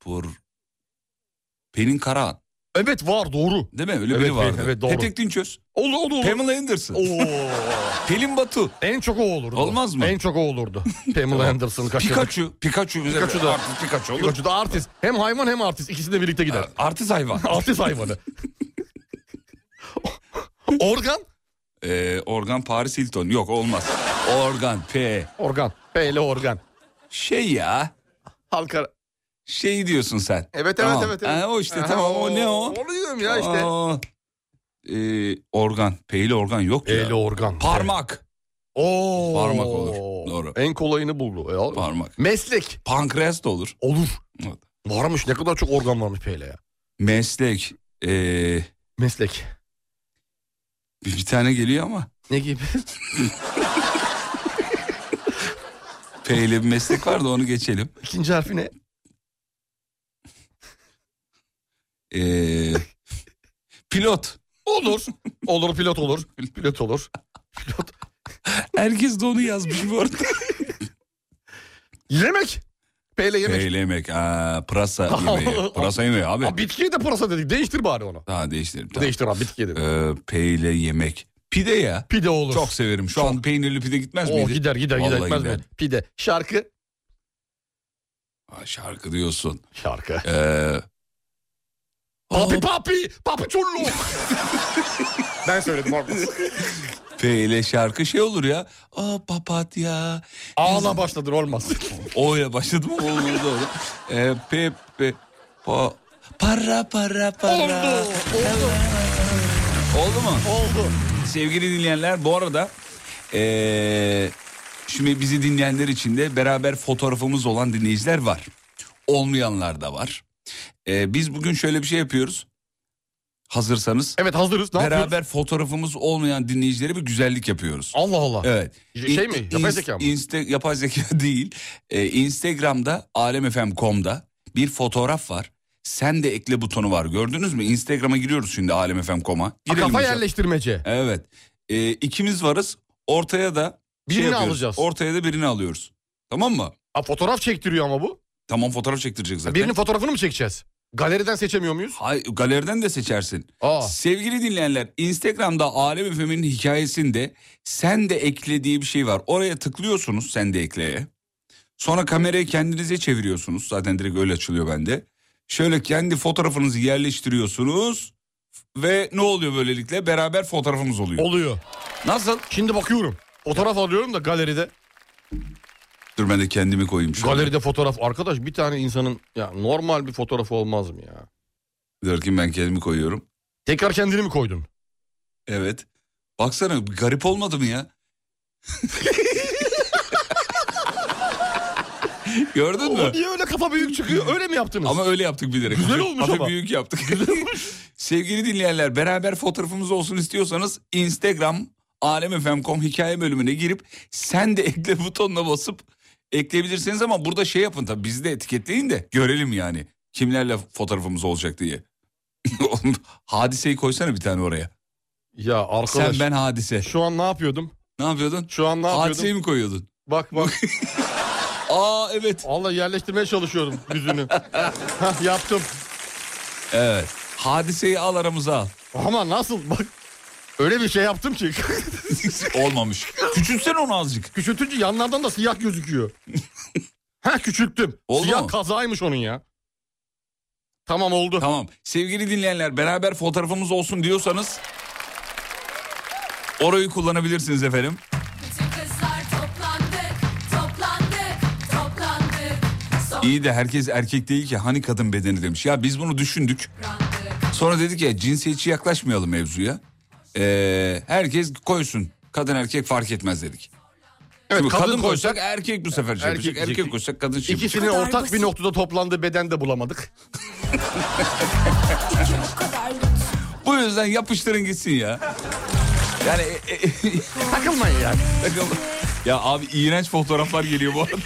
S4: Pur. Pelin Karahan.
S5: Evet var doğru.
S4: Değil mi? Öyle
S5: Evet,
S4: biri vardı.
S5: Pelin, evet, doğru.
S4: Petek Dinçöz.
S5: Olur olur olur.
S4: Pamela Anderson.
S5: (laughs) Oo.
S4: Pelin Batu.
S5: en çok o olurdu.
S4: Olmaz mı?
S5: En çok o olurdu. Pamela Anderson kaçırdı.
S4: Pikachu. Pikachu.
S5: Pikachu da-
S4: Artist Pikachu olur. Ee,
S5: Pikachu da artist. Hem hayvan hem artist. İkisi de birlikte gider.
S4: Artist hayvan.
S5: (laughs)
S4: (laughs)
S5: artist hayvanı. Organ.
S4: Ee, organ Paris Hilton. Yok olmaz. Organ P.
S5: Organ. Peyle organ.
S4: Şey ya.
S5: Halka.
S4: Şey diyorsun sen.
S5: Evet evet
S4: Tamam.
S5: evet. evet.
S4: Ha, o işte tamam o ne o?
S5: Onu diyorum ya işte.
S4: Aa, ee, organ. P'li organ yok ya.
S5: Peyle organ.
S4: Parmak.
S5: Oo.
S4: Parmak olur. Doğru.
S5: En kolayını buldu. Ya.
S4: Parmak.
S5: Meslek.
S4: Pankreas da olur.
S5: Olur.
S4: Evet.
S5: Varmış ne kadar çok organ varmış Peyle ya.
S4: Meslek. Ee, bir,
S5: Meslek.
S4: bir tane geliyor ama.
S5: Ne gibi?
S4: P'li bir meslek var da onu geçelim.
S5: İkinci harfi ne?
S4: Ee, pilot.
S5: Olur. Olur
S4: (laughs)
S5: pilot olur. Pilot olur. Pilot.
S4: Herkes de onu yazmış bu arada.
S5: Yemek. Peyle yemek.
S4: P'li yemek. Aa,
S5: (laughs)
S4: pırasa yemeği. Pırasa yemeği abi.
S5: Aa, bitkiyi de pırasa dedik. Değiştir bari onu.
S4: Daha değiştirelim. Tamam.
S5: Değiştir abi bitkiyi de.
S4: Ee, peyle yemek. Pide ya.
S5: Pide olur.
S4: Çok severim. Şu an peynirli pide gitmez
S5: Oo,
S4: miydi?
S5: gider gider
S4: Vallahi
S5: gider. Gitmez mi? Pide. Şarkı.
S4: Aa, şarkı diyorsun.
S5: Şarkı.
S4: Ee,
S5: Papi papi.
S4: (laughs)
S5: Papi çullu. ben söyledim orada.
S4: peyle şarkı şey olur ya. Aa papatya.
S5: Ağla başladın olmaz.
S4: O ile başladım ama olmadı doğru. Ee, pe, pe, pa, para para para.
S5: oldu. Oldu.
S4: Oldu mu?
S5: Oldu.
S4: Sevgili dinleyenler bu arada ee, şimdi bizi dinleyenler için de beraber fotoğrafımız olan dinleyiciler var. Olmayanlar da var. Ee, biz bugün şöyle bir şey yapıyoruz. Hazırsanız
S5: Evet hazırız. Ne yapıyoruz?
S4: beraber fotoğrafımız olmayan dinleyicilere bir güzellik yapıyoruz.
S5: Allah Allah.
S4: Evet.
S5: Şey
S4: İn-
S5: mi?
S4: ins-
S5: Yapay zeka mı?
S4: inste- yapay zeka (laughs) değil. Ee, Instagram'da alemfm.com'da bir fotoğraf var. Sen de ekle butonu var. Gördünüz mü? Instagram'a giriyoruz şimdi alemfm.com'a.
S5: Ha,
S4: Girelim
S5: kafa
S4: hocam.
S5: yerleştirmece.
S4: Evet. Ee, ikimiz varız. Ortaya da şey
S5: Birini
S4: yapıyoruz.
S5: alacağız.
S4: Ortaya da birini alıyoruz. Tamam mı?
S5: Ha, fotoğraf çektiriyor ama bu.
S4: Tamam fotoğraf çektirecek zaten.
S5: Birinin fotoğrafını mı çekeceğiz? Galeriden seçemiyor muyuz?
S4: Hay- galeriden de seçersin.
S5: Aa.
S4: Sevgili dinleyenler Instagram'da Alem Efem'in hikayesinde sen de ekle diye bir şey var. Oraya tıklıyorsunuz sen de ekleye. Sonra kamerayı kendinize çeviriyorsunuz. Zaten direkt öyle açılıyor bende. Şöyle kendi fotoğrafınızı yerleştiriyorsunuz. Ve ne oluyor böylelikle? Beraber fotoğrafımız oluyor.
S5: Oluyor.
S4: Nasıl?
S5: Şimdi bakıyorum. Fotoğraf alıyorum da galeride.
S4: Dur ben de kendimi koyayım şöyle.
S5: Galeride fotoğraf arkadaş bir tane insanın ya normal bir fotoğrafı olmaz mı ya?
S4: Dur ki ben kendimi koyuyorum.
S5: Tekrar şey- kendini mi koydun?
S4: Evet. Baksana garip olmadı mı
S5: (laughs)
S4: ya? Gördün mü?
S5: O niye öyle kafa büyük çıkıyor? Öyle mi yaptınız?
S4: Ama öyle yaptık bilerek.
S5: Güzel
S4: Hafif-
S5: olmuş
S4: hafif
S5: ama.
S4: büyük yaptık. (laughs) Sevgili dinleyenler beraber fotoğrafımız olsun istiyorsanız Instagram alemfm.com hikaye bölümüne girip sen de (laughs) ekle butonuna basıp ekleyebilirsiniz ama burada şey yapın tabii bizi de etiketleyin de görelim yani kimlerle fotoğrafımız olacak diye. (laughs) Oğlum, Hadiseyi koysana bir tane oraya.
S5: Ya
S4: Sen
S5: arkadaş
S4: ben hadise.
S5: şu an ne yapıyordum?
S4: Ne yapıyordun?
S5: Şu an ne yapıyordum?
S4: Hadiseyi mi koyuyordun?
S5: Bak bak.
S4: (laughs) Aa evet.
S5: Allah yerleştirmeye çalışıyorum
S4: (laughs)
S5: yüzünü. Hah, yaptım.
S4: Evet. Hadiseyi al aramıza al.
S5: Ama nasıl bak. Öyle bir şey yaptım ki.
S4: (laughs) Olmamış. Küçülsen onu azıcık.
S5: Küçültünce yanlardan da
S4: (laughs)
S5: siyah gözüküyor. ha küçülttüm.
S4: Oldu
S5: siyah
S4: mu?
S5: kazaymış onun ya. Tamam oldu.
S4: Tamam. Sevgili dinleyenler beraber fotoğrafımız olsun diyorsanız orayı kullanabilirsiniz efendim. İyi de herkes erkek değil ki hani kadın bedeni demiş. Ya biz bunu düşündük. Sonra dedik ya cinsiyetçi yaklaşmayalım mevzuya. Ee, herkes koysun. Kadın erkek fark etmez dedik.
S5: Evet,
S4: Şimdi kadın,
S5: koysak-
S4: koysak erkek bu sefer şey
S5: Erkek
S4: yapacak. Erkek,
S5: diyecek.
S4: koysak kadın şey yapacak.
S5: İkisinin ortak bir noktada toplandığı beden de bulamadık.
S4: Bu yüzden yapıştırın gitsin ya. Yani e, (laughs) e,
S5: Takılmayın ya.
S4: Bakalım. Ya abi iğrenç fotoğraflar geliyor bu
S5: (laughs)
S4: arada.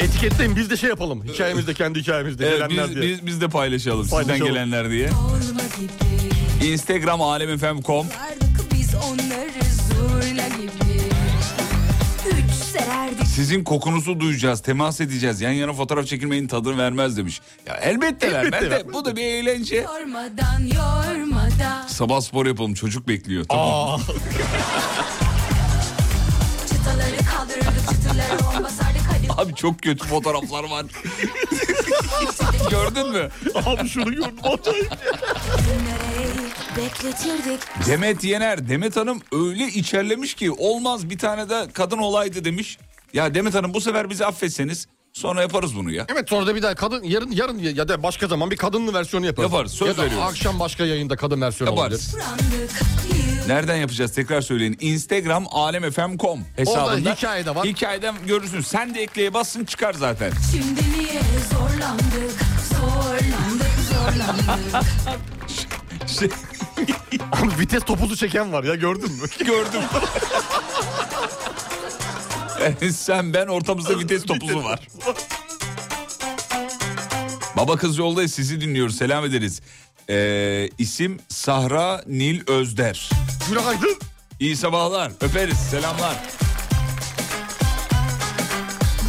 S5: Etiketleyin biz de şey yapalım. Hikayemizde kendi hikayemizde.
S4: Evet,
S5: gelenler
S4: biz,
S5: diye.
S4: biz, biz de paylaşalım, sizden
S5: Paylaşalım.
S4: gelenler diye. Instagram alemfm.com
S10: Biz onları zorla gibi Üç sererdik
S4: Sizin kokunuzu duyacağız, temas edeceğiz. Yan yana fotoğraf çekilmeyin tadını vermez demiş. Ya elbette vermez de
S5: vermez.
S4: E, bu da bir eğlence.
S10: sormadan yormadan
S4: Sabah spor yapalım çocuk bekliyor. Tamam.
S10: Çıtaları kaldırırdık çıtaları on basardık hadi
S4: (laughs) Abi çok kötü fotoğraflar var. Gördün mü?
S5: (laughs) Abi şunu gördüm. Acayip.
S10: Bekletirdik
S4: Demet Yener, Demet Hanım öyle içerlemiş ki olmaz bir tane de kadın olaydı demiş. Ya Demet Hanım bu sefer bizi affetseniz sonra yaparız bunu ya.
S5: Evet sonra da bir daha kadın yarın yarın ya da başka zaman bir kadınlı versiyonu yaparız.
S4: Yaparız, söz
S5: ya da
S4: veriyoruz.
S5: akşam başka yayında kadın versiyonu olabilir.
S4: Yaparız. Nereden yapacağız tekrar söyleyin. Instagram alemfm.com hesabında.
S5: Orada hikaye de var.
S4: Hikayeden görürsünüz. Sen de ekleye bassın çıkar
S5: (laughs)
S4: zaten.
S10: Şimdi niye zorlandık Zorlandık zorlandık
S4: Şey,
S5: Abi vites topuzu çeken var ya gördün mü?
S4: gördüm. (laughs) Sen ben ortamızda vites topuzu var. Baba kız yolda sizi dinliyoruz. Selam ederiz. Ee, isim Sahra Nil Özder.
S5: Günaydın.
S4: İyi sabahlar. Öperiz. Selamlar.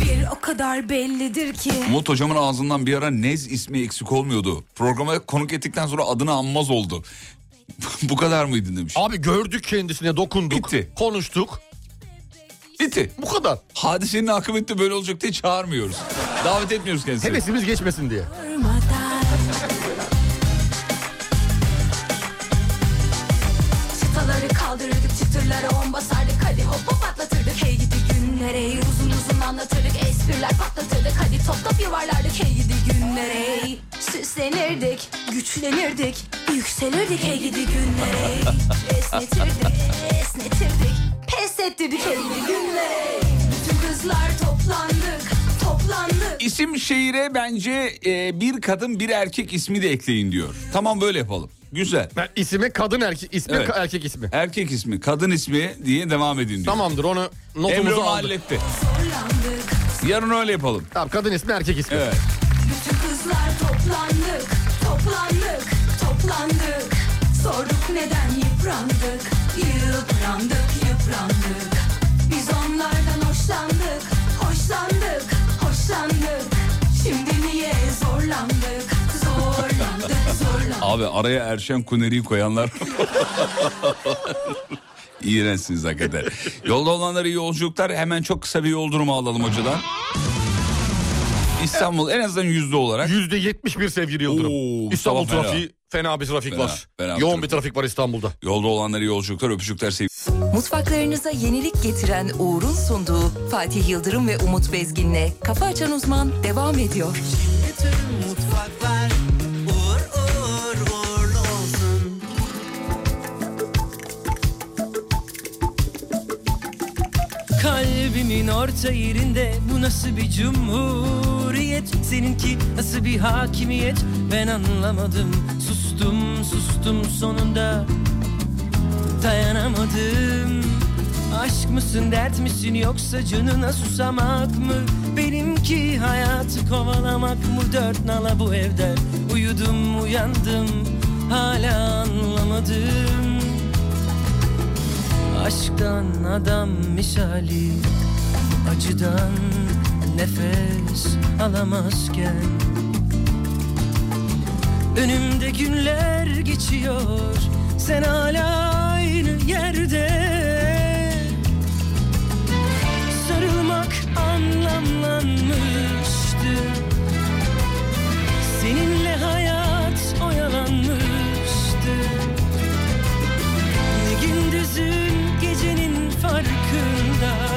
S10: Bir o kadar bellidir ki
S4: Umut hocamın ağzından bir ara Nez ismi eksik olmuyordu. Programa konuk ettikten sonra adını anmaz oldu. (laughs) Bu kadar mıydı demiş.
S5: Abi gördük kendisine dokunduk.
S4: Bitti.
S5: Konuştuk.
S4: Bitti.
S5: Bu kadar.
S4: Hadisenin akıbeti böyle olacak diye çağırmıyoruz. Davet etmiyoruz kendisini.
S5: Hevesimiz geçmesin diye.
S10: durmadan Çıtaları kaldırırdık çıtırları on basardık Hadi hop hop atlatırdık Hey gidi günlere ey. uzun uzun anlatırdık Espriler patlatırdık Hadi top top yuvarlardık Hey gidi günlere ey. Süslenirdik güçlenirdik Yükselirdik hey gidi günlere ey. Esnetirdik esnetirdik Pes ettirdik hey gidi günlere ey. Bütün kızlar toplandık toplandık
S4: İsim şehire bence e, bir kadın bir erkek ismi de ekleyin diyor. Tamam böyle yapalım. Güzel.
S5: Ben ismi kadın erkek ismi
S4: Evet.
S5: ka- erkek ismi.
S4: Erkek ismi, kadın ismi diye devam edin diyor.
S5: Tamamdır onu
S4: Emre
S5: notumuzu
S4: onu
S5: aldık.
S4: halletti. Yarın öyle yapalım.
S5: Tamam kadın ismi erkek ismi.
S4: Evet.
S10: Bütün kızlar toplandık, toplandık, toplandık. Sorduk neden yıprandık, yıprandık, yıprandık. Biz onlardan hoşlandık, hoşlandık, hoşlandık. Şimdi niye zorlandık, zorlandık, zorlandık.
S4: Abi araya Erşen Kuneri'yi koyanlar. (laughs) İğrençsiniz hakikaten. Yolda olanlara iyi yolculuklar. Hemen çok kısa bir yol durumu alalım hocadan. İstanbul en azından yüzde olarak.
S5: %71 sevgili Yıldırım.
S4: Oo, bu
S5: İstanbul
S4: sabah fena.
S5: trafiği fena. Fena bir trafik
S4: Fena,
S5: var.
S4: fena bir
S5: Yoğun
S4: trafik
S5: bir trafik var İstanbul'da.
S4: Yolda olanlara yolculuklar, öpücükler sevgiler.
S1: Mutfaklarınıza yenilik getiren Uğur'un sunduğu Fatih Yıldırım ve Umut Bezgin'le Kafa Açan Uzman devam ediyor.
S13: Bütün mutfaklar uğur uğur uğurlu olsun. Kalbimin orta yerinde bu nasıl bir cumhuriyet Seninki nasıl bir hakimiyet ben anlamadım Sustum sustum sonunda dayanamadım Aşk mısın dert misin yoksa canına susamak mı Benimki hayatı kovalamak mı dört nala bu evde Uyudum uyandım hala anlamadım Aşktan adam misali Acıdan nefes alamazken Önümde günler geçiyor Sen hala aynı yerde Sarılmak anlamlanmıştı Seninle hayat oyalanmıştı Ne gündüzün gecenin farkında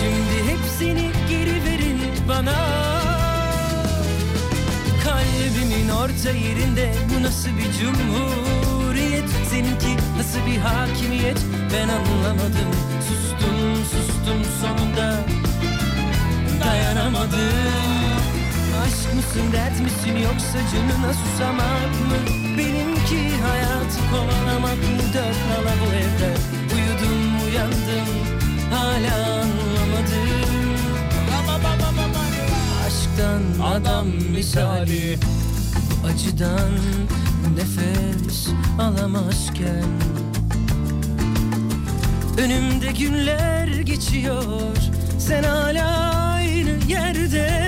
S13: Şimdi hepsini geri verin bana Kalbimin orta yerinde bu nasıl bir cumhuriyet Seninki nasıl bir hakimiyet ben anlamadım Sustum sustum sonunda dayanamadım Aşk mısın dert misin yoksa canına susamak mı Benimki hayatı kovalamak mı dört nala bu evde Uyudum uyandım hala anlamadım Aşktan adam misali Acıdan nefes alamazken Önümde günler geçiyor Sen hala aynı yerde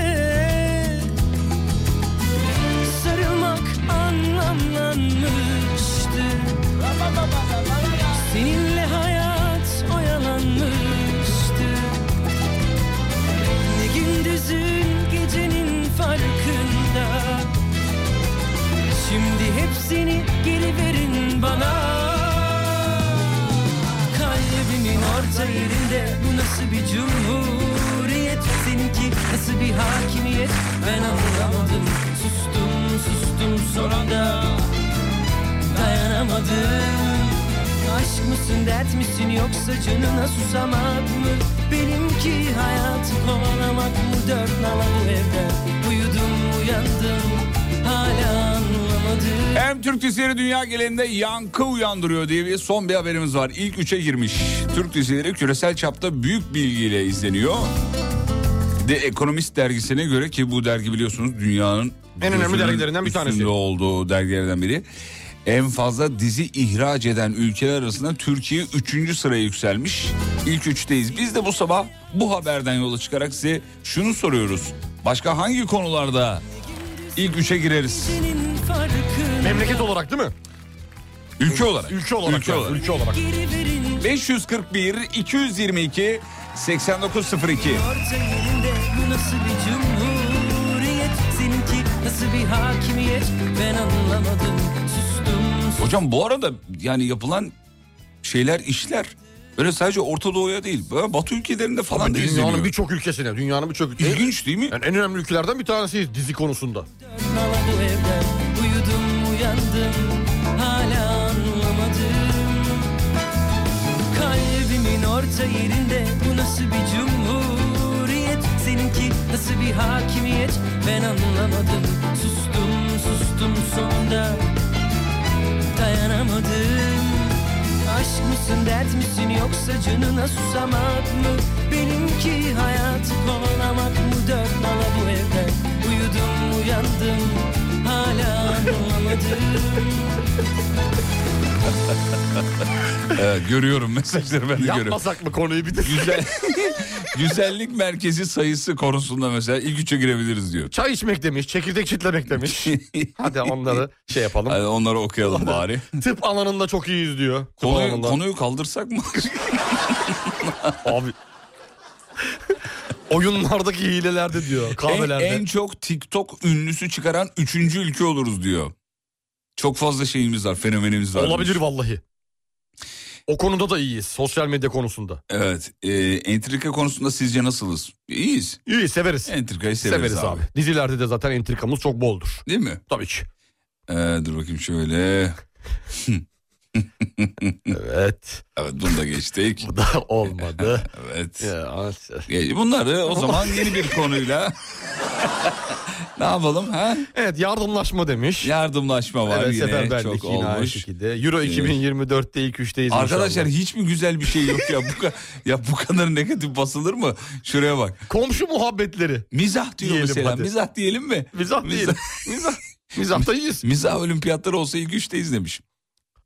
S13: Sarılmak anlamlanmıştı Seninle hayat oyalanmıştı ne gündüzün gecenin farkında Şimdi hepsini geri verin bana Kalbimin orta yerinde bu nasıl bir cumhuriyet Seninki nasıl bir hakimiyet ben anlamadım Sustum sustum sonunda dayanamadım Aşk mısın dert misin yoksa canına susamak mı Benimki hayatı kovalamak mı dört nala bu evde Uyudum uyandım hala anlamadım
S4: Hem Türk dizileri dünya genelinde yankı uyandırıyor diye bir son bir haberimiz var. İlk üçe girmiş. Türk dizileri küresel çapta büyük bilgiyle izleniyor. De Ekonomist dergisine göre ki bu dergi biliyorsunuz dünyanın
S5: En önemli
S4: gözünün
S5: dergilerinden bir
S4: üstünde
S5: tanesi.
S4: olduğu dergilerden biri. En fazla dizi ihraç eden ülkeler arasında Türkiye 3. sıraya yükselmiş. İlk üçteyiz. Biz de bu sabah bu haberden yola çıkarak size şunu soruyoruz. Başka hangi konularda ilk üçe gireriz?
S13: Senin farkın
S5: Memleket olarak değil mi?
S4: Ülke olarak.
S5: Ülke olarak.
S4: Ülke
S5: yani,
S4: olarak.
S5: Ülke olarak.
S13: geri verin
S4: 541 222 8902
S13: Orta yerinde bu nasıl bir cumhuriyet Seninki nasıl bir hakimiyet ben anlamadım Sustum
S4: Hocam bu arada yani yapılan şeyler işler öyle sadece Orta Doğu'ya değil böyle Batı ülkelerinde (laughs) falan (laughs) da
S5: Dünyanın
S4: izleniyor.
S5: birçok ülkesine, dünyanın birçok ülkesine.
S4: İlginç değil mi?
S5: Yani en önemli ülkelerden bir tanesiyiz dizi konusunda.
S13: Nala bu evden Uyudum uyandım hala anlamadım Kalbimin orta yerinde bu nasıl bir cumhuriyet Seninki nasıl bir hakimiyet ben anlamadım Sustum sustum sonunda dayanamadım Aşk mısın dert misin yoksa canına susamak mı Benimki hayatı kovalamak mı dört nala bu evde Uyudum uyandım hala (laughs) anlamadım
S4: Evet, Ee, görüyorum mesajları ben de görüyorum.
S5: Yapmasak mı konuyu bir de?
S4: Güzel, (laughs) güzellik merkezi sayısı konusunda mesela ilk üçe girebiliriz diyor.
S5: Çay içmek demiş, çekirdek
S4: (laughs)
S5: çitlemek demiş. Hadi onları şey yapalım.
S4: Hadi onları okuyalım bari.
S5: (laughs) Tıp alanında çok iyiyiz diyor. Tıp
S4: Konuyu,
S5: (laughs) alanında.
S4: konuyu kaldırsak mı?
S5: Abi. Oyunlardaki hilelerde diyor
S4: En,
S5: kahvelerde.
S4: en çok TikTok ünlüsü çıkaran üçüncü ülke oluruz diyor. Çok fazla şeyimiz var, fenomenimiz var.
S5: Olabilir vallahi. O konuda da iyiyiz sosyal medya konusunda.
S4: Evet. E, entrika konusunda sizce nasılız? İyiyiz.
S5: İyi severiz.
S4: Entrikayı severiz,
S5: severiz
S4: abi.
S5: abi. Dizilerde de zaten entrikamız çok boldur.
S4: Değil mi?
S5: Tabii ki.
S4: Ee, dur bakayım şöyle. (laughs)
S5: Evet.
S4: Evet bunu da geçtik.
S5: Bu da olmadı.
S4: (laughs) Evet.
S5: Ya,
S4: E, Bunları o zaman yeni bir konuyla
S5: (laughs)
S4: ne yapalım ha?
S5: evet yardımlaşma demiş.
S4: Yardımlaşma var
S5: evet,
S4: yine
S5: seferberlik
S4: çok
S5: yine aynı
S4: olmuş.
S5: şekilde. Euro 2024'te ilk üçteyiz
S4: Arkadaşlar
S5: inşallah.
S4: hiç mi güzel bir şey yok ya bu ka- ya bu kadar negatif basılır mı? Şuraya bak.
S5: Komşu
S4: (laughs)
S5: muhabbetleri.
S4: Mizah diyor
S5: Diyelim
S4: mesela.
S5: hadi.
S4: Mizah diyelim mi?
S5: Mizah değil.
S4: (laughs)
S5: Mizah. Mizah da iyiyiz.
S4: Mizah olimpiyatları olsa ilk üçteyiz demiş.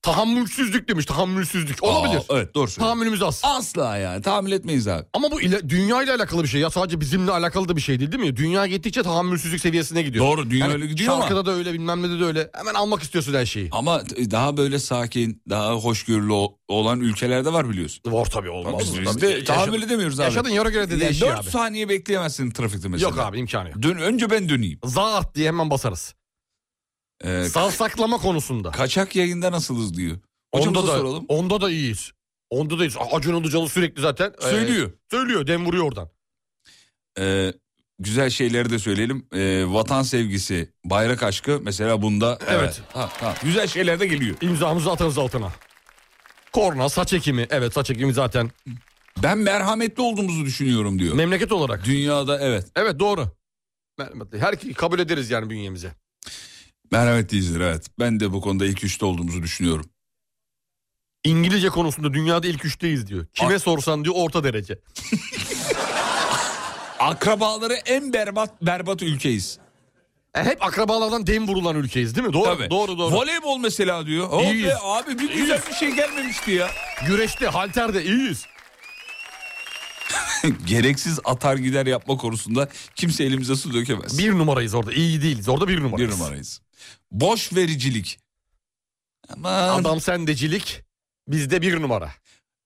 S5: Tahammülsüzlük demiş. Tahammülsüzlük. Olabilir.
S4: Aa, evet doğru söylüyor.
S5: Tahammülümüz az.
S4: Asla yani tahammül etmeyiz abi.
S5: Ama bu ile, dünya ile alakalı bir şey ya sadece bizimle alakalı da bir şey değil değil mi? Dünya gittikçe tahammülsüzlük seviyesine gidiyor.
S4: Doğru, dünya öyle gidiyor ama-
S5: Şarkıda da öyle bilmem ne de öyle. Hemen almak istiyorsun her şeyi.
S4: Ama daha böyle sakin, daha hoşgörülü o- olan ülkelerde var biliyorsun.
S5: Var tabii olmaz.
S4: Biz,
S5: Tabii.
S4: biz de tahammül
S5: Yaşa-
S4: edemiyoruz abi.
S5: Yaşadığın yere göre de değişiyor
S4: 4
S5: şey abi.
S4: saniye bekleyemezsin trafikte mesela.
S5: Yok abi imkanı yok.
S4: Dön, önce ben döneyim.
S5: Zaat diye hemen basarız.
S4: Ee,
S5: Salsaklama konusunda.
S4: kaçak yayında nasılız diyor. Hocamıza
S5: onda da,
S4: soralım.
S5: Onda da iyiyiz. Onda da iyiyiz. Acun Ilıcalı sürekli zaten. e,
S4: Söylüyor.
S5: söylüyor. Dem vuruyor oradan.
S4: Ee, güzel şeyleri de söyleyelim. Ee, vatan sevgisi, bayrak aşkı mesela bunda.
S5: Evet.
S4: Ha, ha. Güzel şeyler de geliyor.
S5: İmzamızı atarız altına. Korna, saç ekimi. Evet saç ekimi zaten.
S4: Ben merhametli olduğumuzu düşünüyorum diyor.
S5: Memleket olarak.
S4: Dünyada evet.
S5: Evet doğru. Merhametli. Her kabul ederiz yani bünyemize.
S4: Merhametliyizdir evet. Ben de bu konuda ilk üçte olduğumuzu düşünüyorum.
S5: İngilizce konusunda dünyada ilk üçteyiz diyor. Kime sorsan diyor orta derece.
S4: (laughs) Akrabaları en berbat berbat ülkeyiz.
S5: E, hep akrabalardan dem vurulan ülkeyiz değil mi? Doğru
S4: Tabii.
S5: doğru doğru.
S4: Voleybol mesela diyor. Oh
S5: İyiyiz.
S4: be abi bir güzel bir şey gelmemişti ya.
S5: Güreşte, halterde iyiyiz.
S4: (laughs) Gereksiz atar gider yapma konusunda kimse elimize su dökemez.
S5: Bir numarayız orada. İyi değiliz. Orada bir numarayız.
S4: Bir numarayız. Boş vericilik. Aman.
S5: Adam sendecilik bizde bir numara.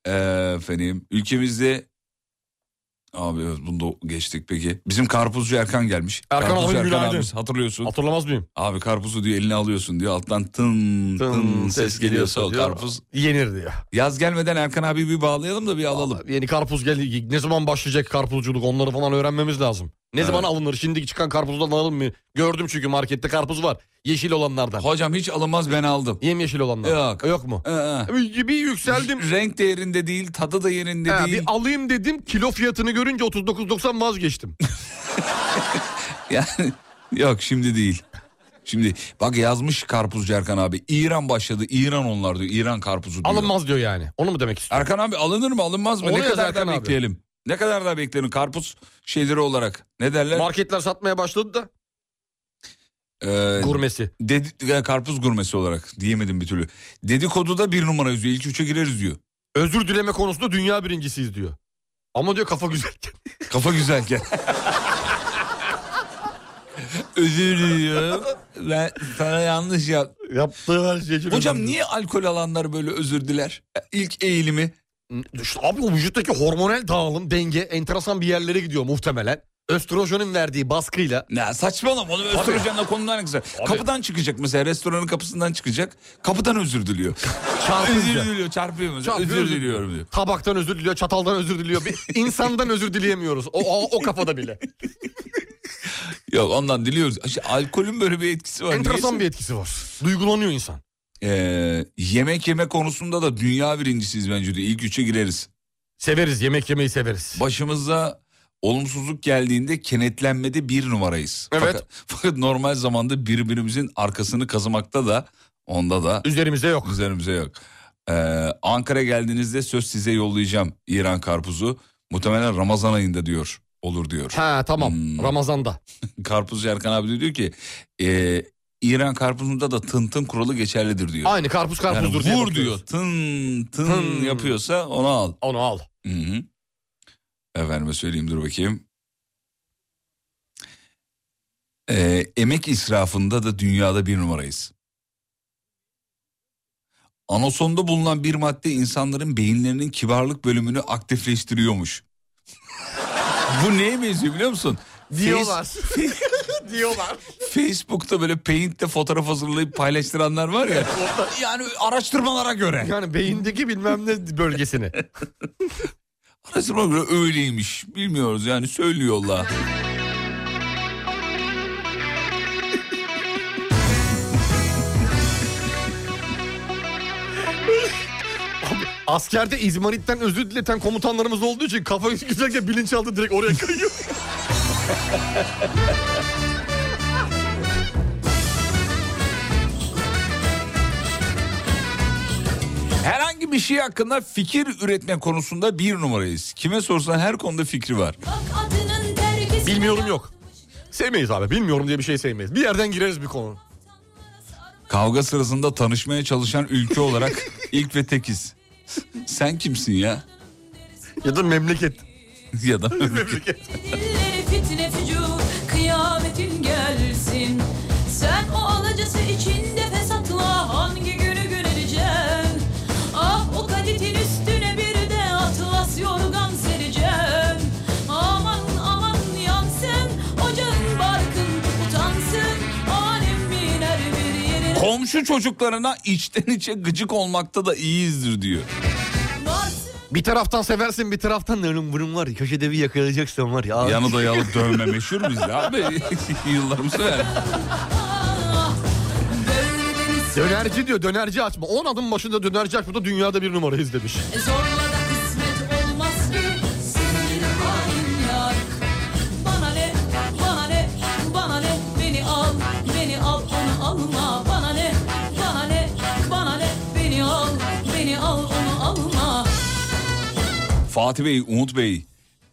S4: Ee, efendim ülkemizde abi evet, bunu da geçtik peki. Bizim karpuzcu Erkan gelmiş.
S5: Erkan
S4: Karpuzcu
S5: abi, günaydın.
S4: abimiz, hatırlıyorsun.
S5: Hatırlamaz mıyım?
S4: abi karpuzu diyor eline alıyorsun diyor alttan tın tın, ses geliyorsa o
S5: diyor.
S4: karpuz.
S5: Yenir diyor.
S4: Yaz gelmeden Erkan abi bir bağlayalım da bir alalım.
S5: Yeni karpuz gel ne zaman başlayacak karpuzculuk onları falan öğrenmemiz lazım. Ne
S4: Evet.
S5: zaman alınır? Şimdi çıkan karpuzdan alınır mı? Gördüm çünkü markette karpuz var. Yeşil olanlardan.
S4: Hocam hiç alınmaz ben aldım.
S5: Yemyeşil olanlardan.
S4: Yok.
S5: Yok mu?
S4: Ee, ee.
S5: Bir bir yükseldim.
S4: Renk de yerinde değil, tadı da yerinde
S5: Ha,
S4: değil.
S5: bir alayım dedim kilo fiyatını görünce
S4: (laughs)
S5: 39.90 vazgeçtim.
S4: Yani yok şimdi değil. Şimdi bak yazmış karpuzcu Erkan abi. İran başladı. İran onlar diyor. İran karpuzu diyor.
S5: Alınmaz diyor yani. Onu mu demek istiyor?
S4: Erkan abi alınır mı alınmaz mı?
S5: Onu
S4: ne
S5: yaz
S4: kadar daha
S5: Erkan abi.
S4: bekleyelim? Ne kadar daha bekleyelim karpuz şeyleri olarak? Ne derler?
S5: Marketler satmaya başladı da
S4: Ee,
S5: gurmesi.
S4: dedi- ya, karpuz gurmesi olarak diyemedim bir türlü. Dedikoduda bir numara yüzüyor. İlk üçe gireriz diyor.
S5: Özür dileme konusunda dünya birincisiyiz diyor. Ama diyor kafa güzel.
S4: (laughs) Kafa güzelken. Özür diliyorum. Ben sana yanlış yap.
S5: Yaptığı her şey için
S4: Hocam
S5: özür
S4: niye alkol alanlar böyle özür diler? İlk eğilimi.
S5: İşte abi o vücuttaki hormonal dağılım, denge enteresan bir yerlere gidiyor muhtemelen. Östrojenin verdiği baskıyla.
S4: Ne saçmalama oğlum östrojenle konular ne güzel. Kapıdan çıkacak mesela restoranın kapısından çıkacak. Kapıdan özür diliyor.
S5: (laughs) Çarpınca.
S4: Özür diliyor çarpıyor mesela.
S5: Çarpıyor,
S4: özür
S5: özür
S4: diliyorum diyor.
S5: Tabaktan özür diliyor, çataldan özür
S4: (laughs)
S5: diliyor. Bir insandan özür dileyemiyoruz. O, o, o kafada bile.
S4: Yok ondan diliyoruz. İşte alkolün böyle bir etkisi var.
S5: Enteresan bir
S4: niyeyse.
S5: etkisi var. Duygulanıyor insan.
S4: Ee, yemek yeme konusunda da dünya birincisiyiz bence diyor. İlk üçe gireriz.
S5: Severiz, yemek yemeyi severiz.
S4: Başımıza olumsuzluk geldiğinde kenetlenmede bir numarayız.
S5: Evet.
S4: Fakat, fakat normal zamanda birbirimizin arkasını kazımakta da onda da
S5: Üzerimizde yok.
S4: üzerimize yok. Ee, Ankara geldiğinizde söz size yollayacağım İran karpuzu. Muhtemelen Ramazan ayında diyor. Olur diyor.
S5: Ha tamam.
S4: Hmm. (laughs)
S5: Ramazan'da.
S4: Karpuzcu Erkan abi de diyor ki e, İran karpuzunda da tın tın kuralı geçerlidir diyor.
S5: Aynı karpuz
S4: Yani
S5: karpuzdur diye
S4: vur diyor
S5: bakıyoruz. Hmm.
S4: tın tın,
S5: Tın.
S4: yapıyorsa onu al.
S5: Onu al.
S4: Hı hı. Efendime söyleyeyim dur bakayım. Ee, emek israfında da dünyada bir numarayız. Anasonda bulunan bir madde insanların beyinlerinin kibarlık bölümünü aktifleştiriyormuş. (laughs) Bu neye benziyor biliyor musun? (laughs)
S5: Diyorlar.
S4: Face-
S5: Diyorlar.
S4: Facebook'ta böyle Paint'te fotoğraf hazırlayıp paylaştıranlar var ya. yani araştırmalara göre.
S5: Yani beyindeki bilmem ne bölgesini.
S4: (laughs) Araştırmalara göre öyleymiş. Bilmiyoruz yani söylüyorlar.
S5: Askerde izmaritten özür dileten komutanlarımız olduğu için kafayı güzelce bilinçaltı direkt oraya kayıyor.
S4: Herhangi bir şey hakkında fikir üretme konusunda bir numarayız. Kime sorsan her konuda fikri var.
S5: Bilmiyorum yok. Sevmeyiz abi bilmiyorum diye bir şey sevmeyiz. Bir yerden gireriz bir konu.
S4: Kavga sırasında tanışmaya çalışan ülke
S5: (laughs)
S4: olarak ilk ve tekiz. Sen kimsin ya?
S5: Ya da memleket.
S4: (laughs) Ya da
S14: Dilleri fitne fücur kıyametin gelsin Sen o alacası içinde fesatla hangi günü göreceksin Ah o kaditin üstüne bir de atlas yorgan sereceksin Aman aman yansın ocağın barkın utansın Alem biner bir yerine
S4: Komşu çocuklarına içten içe gıcık olmakta da iyiyizdir diyor.
S14: varsın
S5: (laughs) Bir taraftan seversin bir taraftan önüm burun var ya köşede bir yakalayacaksın var ya. Aa,
S4: Yanı dayalı dövme meşhur bizde abi. (laughs)
S5: (laughs)
S4: Yıllarımız öyle.
S14: ah, Böyle deniz
S5: Dönerci diyor dönerci açma. 10 adım başında dönerci açma da dünyada bir numarayız demiş.
S14: E Zorla da kısmet olmaz ki Sevgili hain yar Bana ne, bana ne, bana ne Beni al, beni al, onu alma Bana ne, bana ne, bana ne Beni al, beni al, onu alma
S4: Fatih Bey, Umut Bey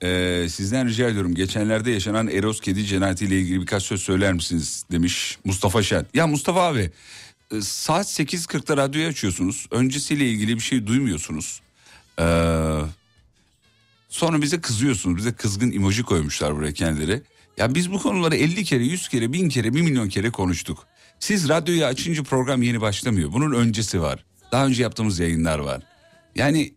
S4: e, sizden rica ediyorum. Geçenlerde yaşanan Eros Kedi cinayetiyle ilgili birkaç söz söyler misiniz demiş Mustafa Şen. Ya Mustafa abi e, saat 8.40'da radyoyu açıyorsunuz. Öncesiyle ilgili bir şey duymuyorsunuz. E, sonra bize kızıyorsunuz. Bize kızgın emoji koymuşlar buraya kendileri. Ya biz bu konuları 50 kere, 100 kere, 1000 kere, 1 milyon kere konuştuk. Siz radyoyu açınca program yeni başlamıyor. Bunun öncesi var. Daha önce yaptığımız yayınlar var. Yani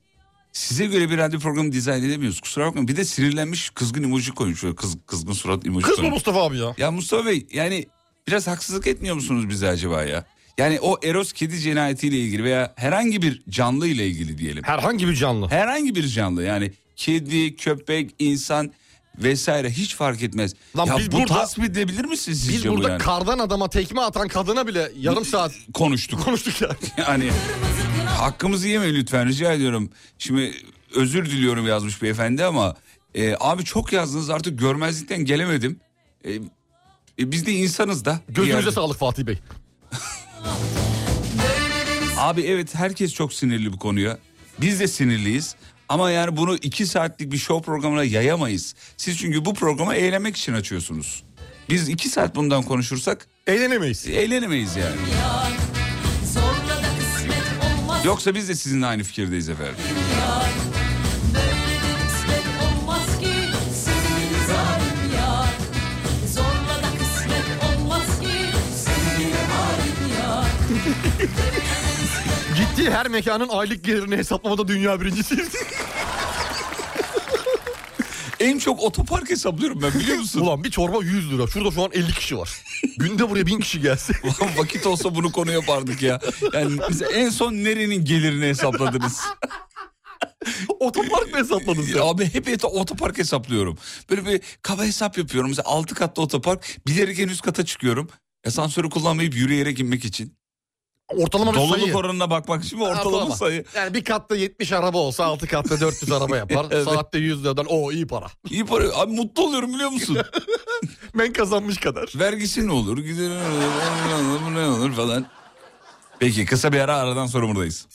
S4: Size göre bir radyo programı dizayn edemiyoruz. Kusura bakmayın. Bir de sinirlenmiş kızgın emoji koymuş. Böyle Kız, kızgın surat emoji
S5: Kız mı
S4: koymuş.
S5: Mustafa abi ya?
S4: Ya Mustafa Bey yani biraz haksızlık etmiyor musunuz bize acaba ya? Yani o Eros kedi cinayetiyle ilgili veya herhangi bir canlı ile ilgili diyelim.
S5: Herhangi bir canlı.
S4: Herhangi bir canlı yani kedi, köpek, insan vesaire hiç fark etmez.
S5: Lan
S4: ya
S5: biz
S4: bu
S5: burada-
S4: tasvip edilebilir mi siz
S5: Biz
S4: sizce bu
S5: burada
S4: yani?
S5: kardan adama tekme atan kadına bile yarım saat
S4: Konuştuk.
S5: konuştuk ya.
S4: (laughs) Yani
S14: Kırmızı kına
S4: hakkımızı yemeyin lütfen rica ediyorum. Şimdi özür diliyorum yazmış beyefendi ama e, abi çok yazdınız artık görmezlikten gelemedim. E, e, biz de insanız da. Bir
S5: Gözünüze
S4: yerde.
S5: sağlık Fatih Bey.
S4: (laughs) Abi evet herkes çok sinirli bu konuya. Biz de sinirliyiz. Ama yani bunu iki saatlik bir show programına yayamayız. Siz çünkü bu programı eğlenmek için açıyorsunuz. Biz iki saat bundan konuşursak
S5: Eğlenemeyiz.
S4: eğlenemeyiz yani.
S14: yar Zorla da kısmet olmaz
S4: Yoksa biz de sizinle aynı fikirdeyiz efendim.
S14: yar Böyle de kısmet olmaz ki Sevgili zalim yar Zorla da kısmet olmaz ki Sevgili hain yar
S5: Gittiği her mekanın aylık gelirini hesaplamada dünya birincisiyiz.
S4: En çok otopark hesaplıyorum ben biliyor musun?
S5: Ulan bir çorba 100 lira. Şurada şu an 50 kişi var. Günde buraya 1000 kişi gelse.
S4: (laughs) Ulan vakit olsa bunu konu yapardık ya. Yani mesela en son nerenin gelirini hesapladınız?
S5: (laughs) Otopark mı hesapladın sen?
S4: Ya Abi hep et- otopark hesaplıyorum. Böyle bir kaba hesap yapıyorum. Mesela 6 katlı otopark bilerek en üst kata çıkıyorum. Asansörü kullanmayıp yürüyerek inmek için.
S5: Ortalama bir sayı.
S4: Doluluk oranına bakmak için ve ortalama
S5: Ortalama.
S4: sayı.
S5: Yani bir katta 70 araba olsa 6 katta 400 araba yapar.
S4: (laughs) Evet.
S5: Saatte 100 liradan o iyi para.
S4: İyi para. Abi mutlu oluyorum biliyor
S5: (laughs)
S4: musun?
S5: Ben kazanmış kadar.
S4: Vergisi ne olur? Gideri ne olur? Bu ne olur falan. Peki kısa bir ara aradan sonra buradayız.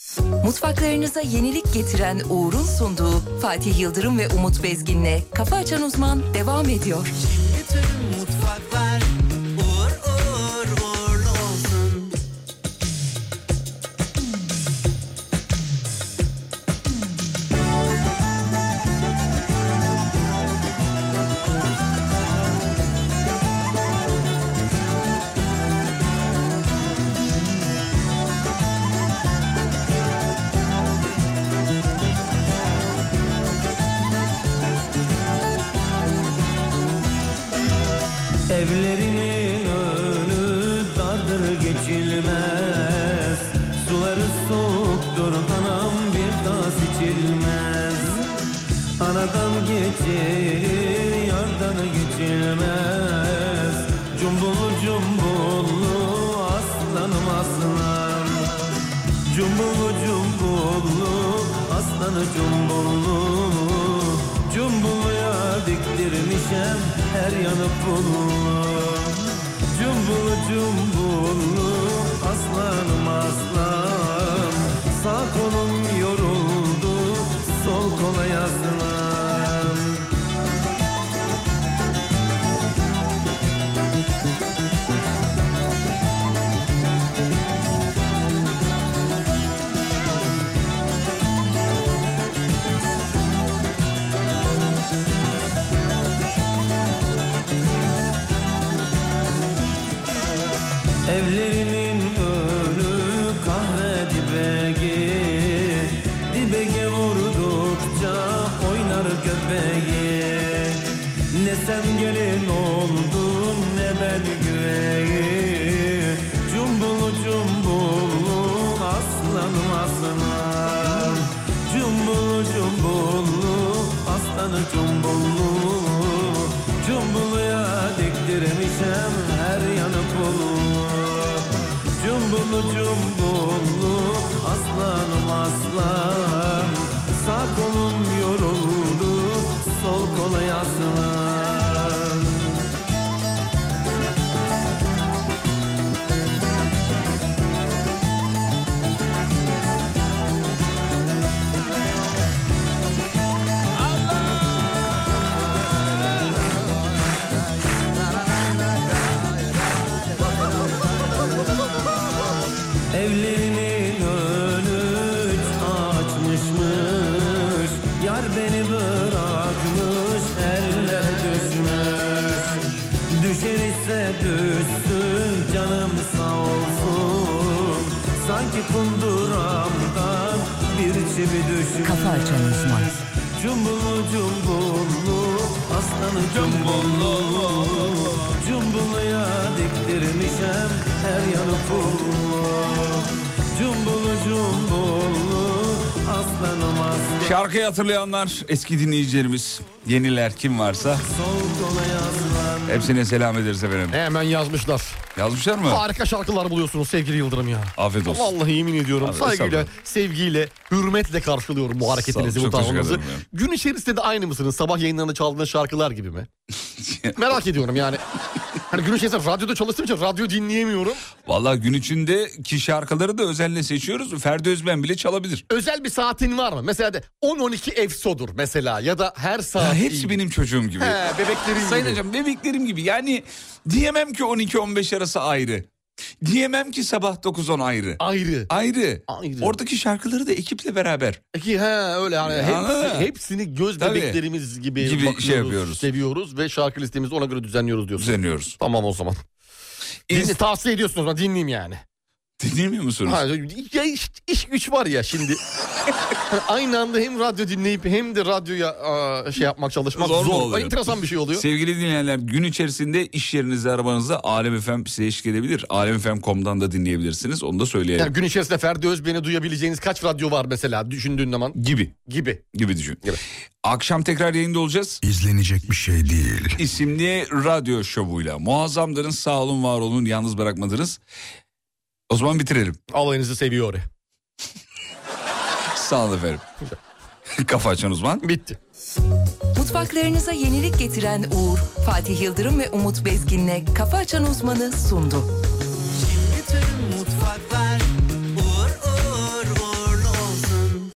S1: Mutfaklarınıza yenilik getiren Uğur'un sunduğu Fatih Yıldırım ve Umut Bezgin'le Kafa Açan Uzman devam ediyor.
S13: Bütün mutfaklar uğur uğur uğurlu olsun.
S12: Evlerinin önü dardır geçilmez Suları soğuktur anam bir daha seçilmez Anadan geçer yardan geçilmez Cumbullu cumbullu aslanım aslan Cumbullu cumbullu aslanı cumbullu Cumbulluya diktirmişem her yanı pullu Cumbullu cumbullu aslanım aslan Sağ kolum yoruldu sol kola yazılan Evlerinin önü kahve dibegi Dibege vurdukça oynar köpeği Ne sen gelin oldun ne ben güveyi Cumbulu cumbulu aslanım aslan Cumbulu cumbulu aslanı cumbulu Cumbuluya diktirmişem her yanı pulu Cumbulu cumbulu aslanım aslan Sağ kolum yoruldu sol kola yaslan Evlerinin önü üç açmışmış Yar beni bırakmış eller düşmüş Düşer ise düşsün canım sağ olsun Sanki kunduramdan bir çivi düşmüş
S7: Kafa açan uzman.
S12: Cumbullu cumbullu aslanı cumbullu Cumbulluya diktirmişem her yanı pullu Cumbullu cumbullu aslanım aslan
S4: Şarkıyı hatırlayanlar, eski dinleyicilerimiz, yeniler kim varsa hepsine selam ederiz efendim.
S5: Hemen yazmışlar.
S4: Yazmışlar mı?
S5: Harika şarkılar buluyorsunuz sevgili Yıldırım ya.
S4: Afiyet olsun.
S5: Vallahi yemin ediyorum
S4: Abi, sağ
S5: saygıyla,
S4: olun.
S5: sevgiyle, hürmetle karşılıyorum bu hareketinizi,
S4: Sağ
S5: bu
S4: olun, çok teşekkür
S5: tavrınızı.
S4: ederim
S5: Gün içerisinde de aynı mısınız? Sabah yayınlarında çaldığınız şarkılar gibi
S4: (laughs)
S5: mi? Merak ediyorum yani. Hani gün içerisinde radyoda çalıştığım için radyo dinleyemiyorum.
S4: Vallahi gün içindeki şarkıları da özenle seçiyoruz. Ferdi Özben bile çalabilir.
S5: Özel bir saatin var mı? Mesela de 10-12 EFSO'dur mesela ya da her saat
S4: Ya hepsi benim çocuğum gibi.
S5: He, bebeklerin
S4: Sayın
S5: gibi.
S4: hocam bebeklerim gibi. Yani diyemem ki 12-15 arası ayrı. Diyemem ki sabah 9-10 ayrı.
S5: Ayrı.
S4: Ayrı. Oradaki şarkıları da ekiple beraber.
S5: Peki ha öyle hani
S4: Ya.
S5: hepsi- hepsini göz
S4: Tabii.
S5: bebeklerimiz gibi,
S4: Gibi şey
S5: bakıyoruz,
S4: yapıyoruz.
S5: seviyoruz ve şarkı listemizi ona göre düzenliyoruz diyorsunuz.
S4: Düzenliyoruz.
S5: Tamam o zaman. Dinle, tavsiye ediyorsunuz ama dinleyeyim yani.
S4: Dinlemiyor musunuz?
S5: Ha, ya iş, iş güç var ya şimdi. (laughs) Hani aynı anda hem radyo dinleyip hem de radyoya aa, şey yapmak çalışmak zor.
S4: mu
S5: Ay, Enteresan bir şey oluyor.
S4: Sevgili dinleyenler gün içerisinde iş yerinizde arabanızda Alem FM size eşlik edebilir. Alemfm.com'dan da dinleyebilirsiniz. Onu da söyleyelim.
S5: Yani gün içerisinde Ferdi Özbey'ini duyabileceğiniz kaç radyo var mesela düşündüğün zaman?
S4: Gibi.
S5: Gibi.
S4: Gibi düşün. Akşam tekrar yayında olacağız. İzlenecek bir şey değil. İsimli radyo şovuyla. Muazzamdırın sağ olun var olun yalnız bırakmadınız. O zaman bitirelim.
S5: Alayınızı seviyor.
S4: sağ olun efendim. Kafa açan uzman.
S5: Bitti.
S1: Mutfaklarınıza yenilik getiren Uğur, Fatih Yıldırım ve Umut Bezgin'le Kafa Açan Uzman'ı sundu.